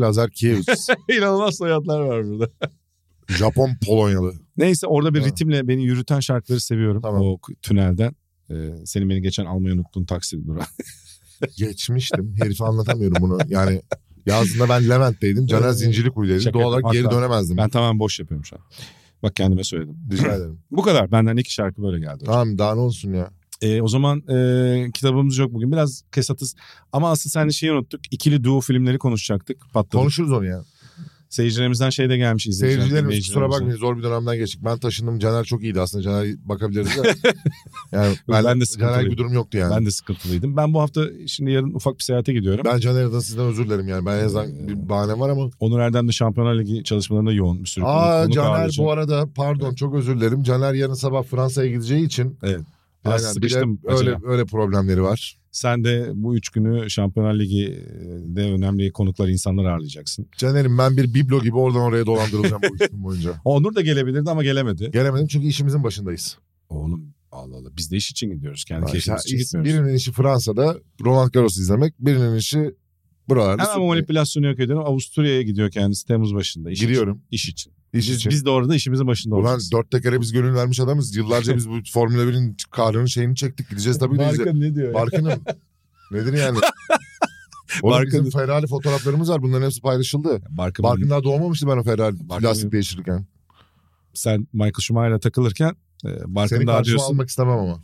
[laughs]
Lazarkiewicz.
İnanılmaz soyadlar var burada.
Japon Polonyalı.
Neyse orada bir
Ha.
ritimle beni yürüten şarkıları seviyorum.
Tamam.
O k- tünelden. Ee, senin beni geçen almayı unuttuğun taksi durağı.
Geçmiştim. Herife anlatamıyorum bunu. Yani yazdığında ben Levent'teydim. Caner
Evet.
Zincirlikuyu'daydı.
Ee, Şaka
Doğal olarak geri
yapmakla.
dönemezdim.
Ben tamamen boş yapıyorum şu an. Bak kendime söyledim.
Rica
[laughs]
ederim.
Bu kadar. Benden iki şarkı böyle geldi.
tamam daha ne olsun ya.
Ee, o zaman e, kitabımız yok bugün. Biraz kesatız. Ama asıl seninle şeyi unuttuk. İkili duo filmleri konuşacaktık. Patladı.
Konuşuruz onu ya.
Seyircilerimizden şey de gelmiş. izleyiciler,
Seyircilerimiz kusura
dinleyicilerimizden.
bakmayın zor bir dönemden geçtik. Ben taşındım. Caner çok iyiydi aslında. Caner bakabiliriz
[laughs]
de. yani ben,
Ben de
Caner
sıkıntılıyım.
gibi durum yoktu yani.
Ben de sıkıntılıydım. Ben bu hafta şimdi yarın ufak bir seyahate gidiyorum.
Ben Caner'e adına sizden özür dilerim yani. Ben en
Ee,
azından bir bahanem var ama.
Onur Erdem de Şampiyonlar Ligi çalışmalarında yoğun bir sürü konuk-
Aa
konuk
Caner
ağırlayacak.
bu arada pardon çok özür dilerim. Caner yarın sabah Fransa'ya gideceği için.
Evet. Biraz
bir de
sıkıştım
Öyle,
acaba.
öyle problemleri var.
Sen de bu üç günü Şampiyonlar Ligi'de önemli konuklar, insanlar ağırlayacaksın.
Caner'im ben bir biblo gibi oradan oraya dolandırılacağım
[laughs]
bu üç gün boyunca.
Onur da gelebilirdi ama gelemedi.
Gelemedim çünkü işimizin başındayız.
Oğlum Allah Allah biz de iş için gidiyoruz. Kendi
Ha,
keyfimiz
işte
için gitmiyoruz.
birinin işi Fransa'da Roland Garros'u izlemek, birinin işi buralarda.
Hemen bu
sürtmeyi.
manipülasyonu yok ediyorum. Avusturya'ya gidiyor kendisi Temmuz başında. İş
Giriyorum.
Için, iş için.
İş
Biz,
için.
biz de orada işimizin başında
Ulan
olacağız.
dört tekere biz gönül vermiş adamız. Yıllarca
[laughs]
biz bu Formula 1'in kahrının şeyini çektik. Gideceğiz tabii de izle-
ne diyor? ya? [laughs]
Barkın'ın. Nedir yani? Oğlum
Barkın-
bizim Ferrari fotoğraflarımız var. Bunların hepsi paylaşıldı.
Barkın,
Barkın daha doğmamıştı ben o Ferrari
Barkın-
lastik değiştirirken.
sen Michael Schumacher'a takılırken e, Barkın
Seni
daha
karşıma
diyorsun.
almak istemem ama.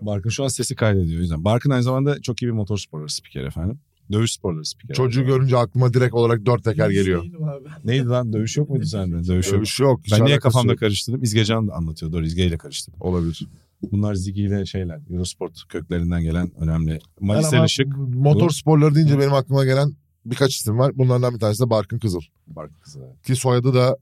Barkın şu an sesi kaydediyor o yüzden. Barkın aynı zamanda çok iyi bir motor sporları spiker efendim. Dövüş sporları spiker.
Çocuğu görünce aklıma direkt olarak dört teker geliyor.
Değilim şey abi.
Neydi
[laughs]
lan dövüş yok muydu sende? Dövüş yok.
Öyle bir şey yok. Hiç
Ben niye
alakası
kafamda
yok.
karıştırdım? İzgecan da anlatıyor doğru İzge ile karıştırdım.
olabilir.
Bunlar Ziggy ile şeyler Eurosport köklerinden gelen önemli.
Ben
Malis
ama
Işık.
Motor
Dur.
sporları deyince benim aklıma gelen birkaç isim var. Bunlardan bir tanesi de Barkın Kızıl.
Barkın kızı.
Ki soyadı da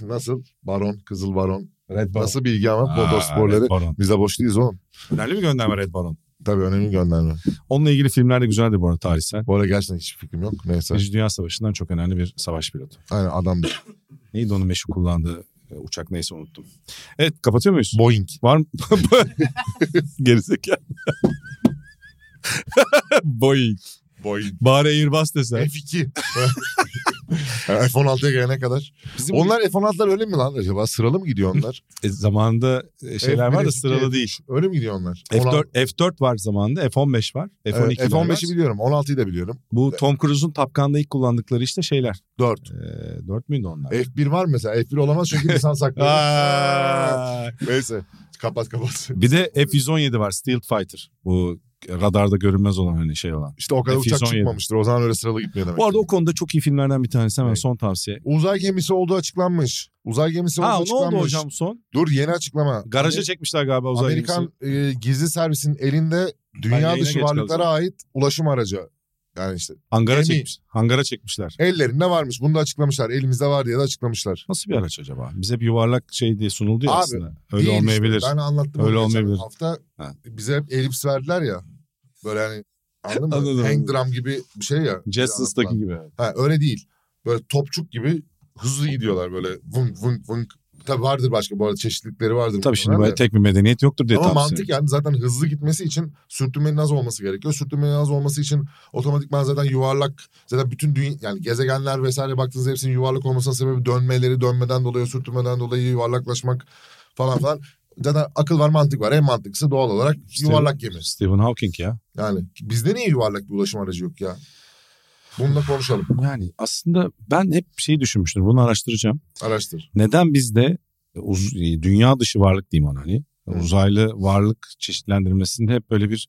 nasıl? Baron, Kızıl Baron.
Red Baron.
Nasıl bilgi ama
Aa,
motor sporları.
Red Baron.
Biz de boş değiliz oğlum.
Önemli bir gönderme Red Baron.
Tabii önemli gönderme.
Onunla ilgili filmler de güzeldi bu arada tarihsel.
Bu arada gerçekten hiç fikrim yok. Neyse.
Birinci Dünya Savaşı'ndan çok önemli bir savaş pilotu.
Aynen
[laughs]
adamdır.
Neydi onun meşhur kullandığı e, uçak neyse unuttum. Evet kapatıyor muyuz?
Boeing.
Var mı? [laughs] Gerizekalı. [laughs] Boeing.
Boeing.
Bari Airbus desen.
F2. [laughs] F-16'ya gelene kadar.
Bizim
Onlar F-16'lar öyle mi lan acaba? Sıralı mı gidiyor
[laughs]
onlar?
E, zamanında e, şeyler
F1,
var da
F2,
sıralı değil.
öyle mi gidiyor onlar?
F4, F4 var zamanında. F15 var. F12
F-12
var.
F-15'i biliyorum. 16'yı da biliyorum.
Bu Tom Cruise'un Tapkan'da ilk kullandıkları işte şeyler.
4.
E, 4 müydü onlar?
F1 var mı mesela? F1
[laughs]
olamaz çünkü insan saklıyor.
Aa!
Neyse. Kapat kapat. [laughs]
bir de F117 var. Steel Fighter. Bu radarda görünmez olan hani şey olan.
İşte o kadar
F-117.
uçak çıkmamıştır. O zaman öyle sıralı gitmiyor demek.
Bu arada o konuda çok iyi filmlerden bir tanesi hemen
Evet.
son tavsiye.
Uzay gemisi olduğu açıklanmış. Uzay gemisi olduğu
Ha ne
açıklanmış.
oldu hocam son?
Dur yeni açıklama.
Garaja çekmişler galiba uzay gemisini.
Amerikan e, gizli servisinin elinde dünya
yayına
dışı
geç
varlıklara
kalacağım.
ait ulaşım aracı. Yani işte
Hangara
Gemi.
çekmiş. Hangara çekmişler.
ellerinde varmış. Bunu da açıklamışlar. Elimizde var diye de açıklamışlar.
Nasıl bir araç acaba? Bize bir yuvarlak şey diye sunuldu ya
Abi,
aslında. Öyle
Değil işte.
olmayabilir.
Ben anlattım.
Öyle
onu geçen
olmayabilir.
Hafta
Ha.
bize hep elips verdiler ya. Böyle hani anladın
[laughs]
mı?
Anladım,
Hang
anladım.
drum gibi bir şey ya.
Justice'daki gibi.
Ha, öyle değil. Böyle topçuk gibi hızlı gidiyorlar böyle vunk vunk vunk. Tabii vardır başka bu arada çeşitlilikleri vardır.
Tabii şimdi
muhtemelen
böyle
de.
tek bir medeniyet yoktur diye
Ama
tahmin
mantık yani zaten hızlı gitmesi için sürtünmenin az olması gerekiyor. Sürtünmenin az olması için otomatikman zaten yuvarlak zaten bütün dünya yani gezegenler vesaire baktığınız hepsinin yuvarlak olmasının sebebi dönmeleri dönmeden dolayı sürtünmeden dolayı yuvarlaklaşmak falan falan. Zaten akıl var mantık var. En mantıklısı doğal olarak
Steven-
yuvarlak gemi.
Stephen Hawking ya.
Yani bizde niye yuvarlak bir ulaşım aracı yok ya? Bunu da konuşalım.
Yani aslında ben hep şeyi düşünmüştüm. Bunu araştıracağım.
Araştır.
Neden bizde uz- e, dünya dışı varlık diyeyim ona hani.
Hı.
Uzaylı varlık çeşitlendirmesinde hep böyle bir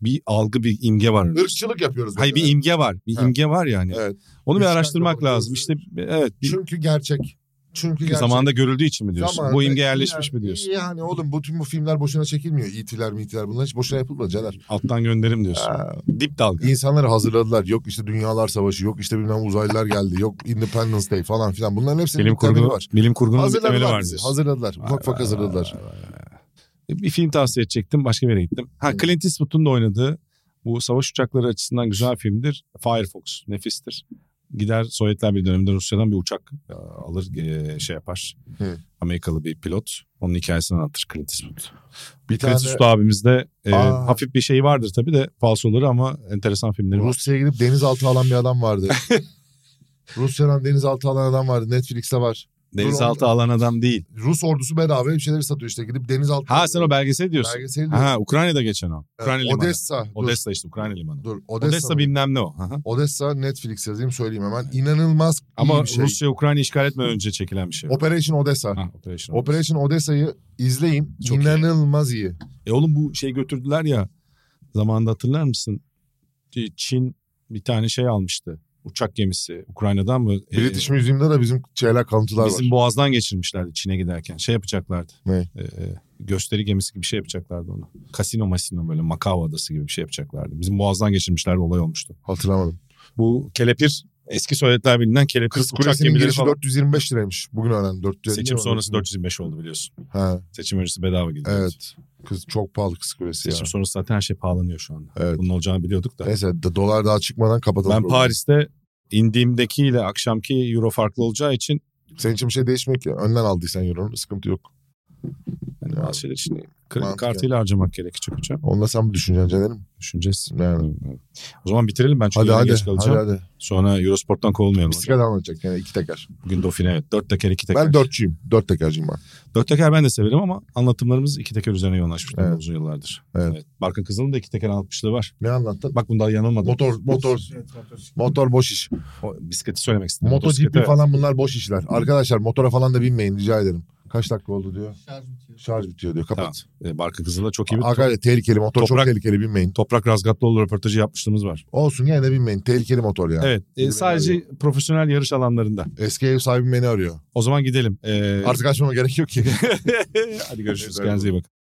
bir algı bir imge var.
Irkçılık yapıyoruz.
Hayır bir
mesela.
imge var. Bir
Ha.
imge var yani.
Evet.
Onu bir
Üçgen
araştırmak
kapatıyoruz.
lazım. İşte evet bir
Çünkü gerçek. Çünkü gerçek.
zamanda görüldüğü için mi diyorsun?
Zamanında-
Bu imge yerleşmiş
yani-
mi diyorsun?
Yani oğlum bu tüm bu filmler boşuna çekilmiyor. E İtiler mitiler bunlar hiç boşuna yapılmadı Caner.
Alttan gönderim diyorsun.
Aa,
Dip dalga.
İnsanları hazırladılar. Yok işte Dünyalar Savaşı, yok işte bilmem uzaylılar geldi, yok Independence Day falan filan. Bunların hepsinin
Bilim
bir temeli
kurgu
var.
bilim kurgunun bir temeli
Hazırladılar
var
bizi.
diyorsun.
Hazırladılar.
Vay
Ufak ufak
vay
hazırladılar.
vay vay vay. Bir film tavsiye edecektim. Başka bir yere gittim. Ha Clint Eastwood'un da oynadığı bu savaş uçakları açısından güzel filmdir. Firefox. Nefistir. Gider Sovyetler Birliği döneminde Rusya'dan bir uçak e, alır e, şey yapar.
Hı.
Amerikalı bir pilot. Onun hikayesini anlatır Clint Eastwood.
Bir
Clint
tane
Eastwood abimizde e,
Aa.
hafif bir şey vardır tabii de falsoları ama enteresan filmleri var.
Rusya'ya gidip denizaltı alan bir
[laughs]
adam vardı. Rusya'dan denizaltı alan adam vardı. Netflix'te var.
Denizaltı alan adam değil.
Rus ordusu bedava bir şeyleri satıyor işte. Gidip denizaltı...
Ha sen o belgeseli diyorsun.
belgeseli diyor.
Ha Ukrayna'da geçen o.
Ee,
Ukrayna limanı.
Odessa. Dur,
Odessa işte Ukrayna limanı.
Dur,
Odessa,
Odessa,
bilmem ne o. Hı hı.
Odessa Netflix yazayım söyleyeyim hemen. İnanılmaz iyi
Ama
bir şey.
Rusya Ukrayna işgal etmeden önce çekilen bir şey.
Operation Odessa.
Ha, Operation.
Operation Odessa'yı izleyin.
Çok iyi.
İnanılmaz iyi.
E oğlum bu şey götürdüler ya. Zamanında hatırlar mısın? Ç- Çin bir tane şey almıştı. Uçak gemisi Ukrayna'dan mı? E,
British Museum'da da bizim şeyler kalıntılar
bizim
var.
boğazdan geçirmişlerdi Çin'e giderken. Şey yapacaklardı.
Ne?
E, e, gösteri gemisi gibi bir şey yapacaklardı onu. Kasino masino böyle Macau adası gibi bir şey yapacaklardı. Bizim boğazdan geçirmişlerdi olay olmuştu.
Hatırlamadım.
Bu kelepir eski Sovyetler Birliği'nden kelepir
Kız
uçak
Kulesi'nin
gemileri
girişi
falan.
425 liraymış. Bugün öğrendim. 425
Seçim
mi?
sonrası 425 oldu biliyorsun.
Ha,
Seçim öncesi bedava gidiyor.
evet. Kız çok pahalı Kız Kulesi ya.
Seçim sonrası zaten her şey pahalanıyor şu anda.
Evet.
Bunun olacağını biliyorduk da.
Neyse d- dolar daha çıkmadan kapatalım.
ben
programı.
Paris'te indiğimdekiyle akşamki euro farklı olacağı için
Senin için bir şey değişmiyor ki. Önden aldıysan euronun sıkıntı yok.
yani
Ya,
hani bazı şeyler için kredi
mantıklı.
kartıyla harcamak gerekecek hocam.
Onunla sen bir düşüneceksin Caner'im.
Düşüneceğiz.
Yani.
O zaman bitirelim ben çünkü
Hadi
yarın
hadi,
geç
hadi
kalacağım.
hadi.
Sonra Eurosport'tan kovulmayalım. hocam.
Bisiklet anlatacak yani iki teker.
Bugün Dauphine evet. Dört teker iki teker.
Ben dörtçüyüm. Dört tekerciyim ben.
Dört teker ben de severim ama anlatımlarımız iki teker üzerine yoğunlaşmışlar
Evet.
uzun yıllardır.
Evet.
Barkın Kızıl'ın da iki teker anlatmışlığı var.
Ne anlattın?
Bak bunda yanılmadım.
Motor, motor,
Evet, motosiklet.
motor boş iş.
O, bisikleti söylemek istedim.
MotoGP
Motosiklete-
falan bunlar boş işler. Arkadaşlar motora falan da binmeyin rica ederim. Kaç dakika oldu diyor.
Şarj bitiyor.
Şarj bitiyor diyor.
Tamam.
Kapat.
E, Barkın Kızıl'da çok iyi bir
Arkadaşlar tehlikeli motor çok
Toprak-
tehlikeli binmeyin.
Toprak Razgatlıoğlu röportajı yapmışlığımız var.
Olsun yine de binmeyin. Tehlikeli motor ya.
Evet. e,
Yürümeyi
sadece profesyonel yarış alanlarında.
Eski ev sahibim beni arıyor.
O zaman gidelim. E,
Artık açmama gerek yok ki.
[laughs] Hadi görüşürüz. Kendinize iyi bakın.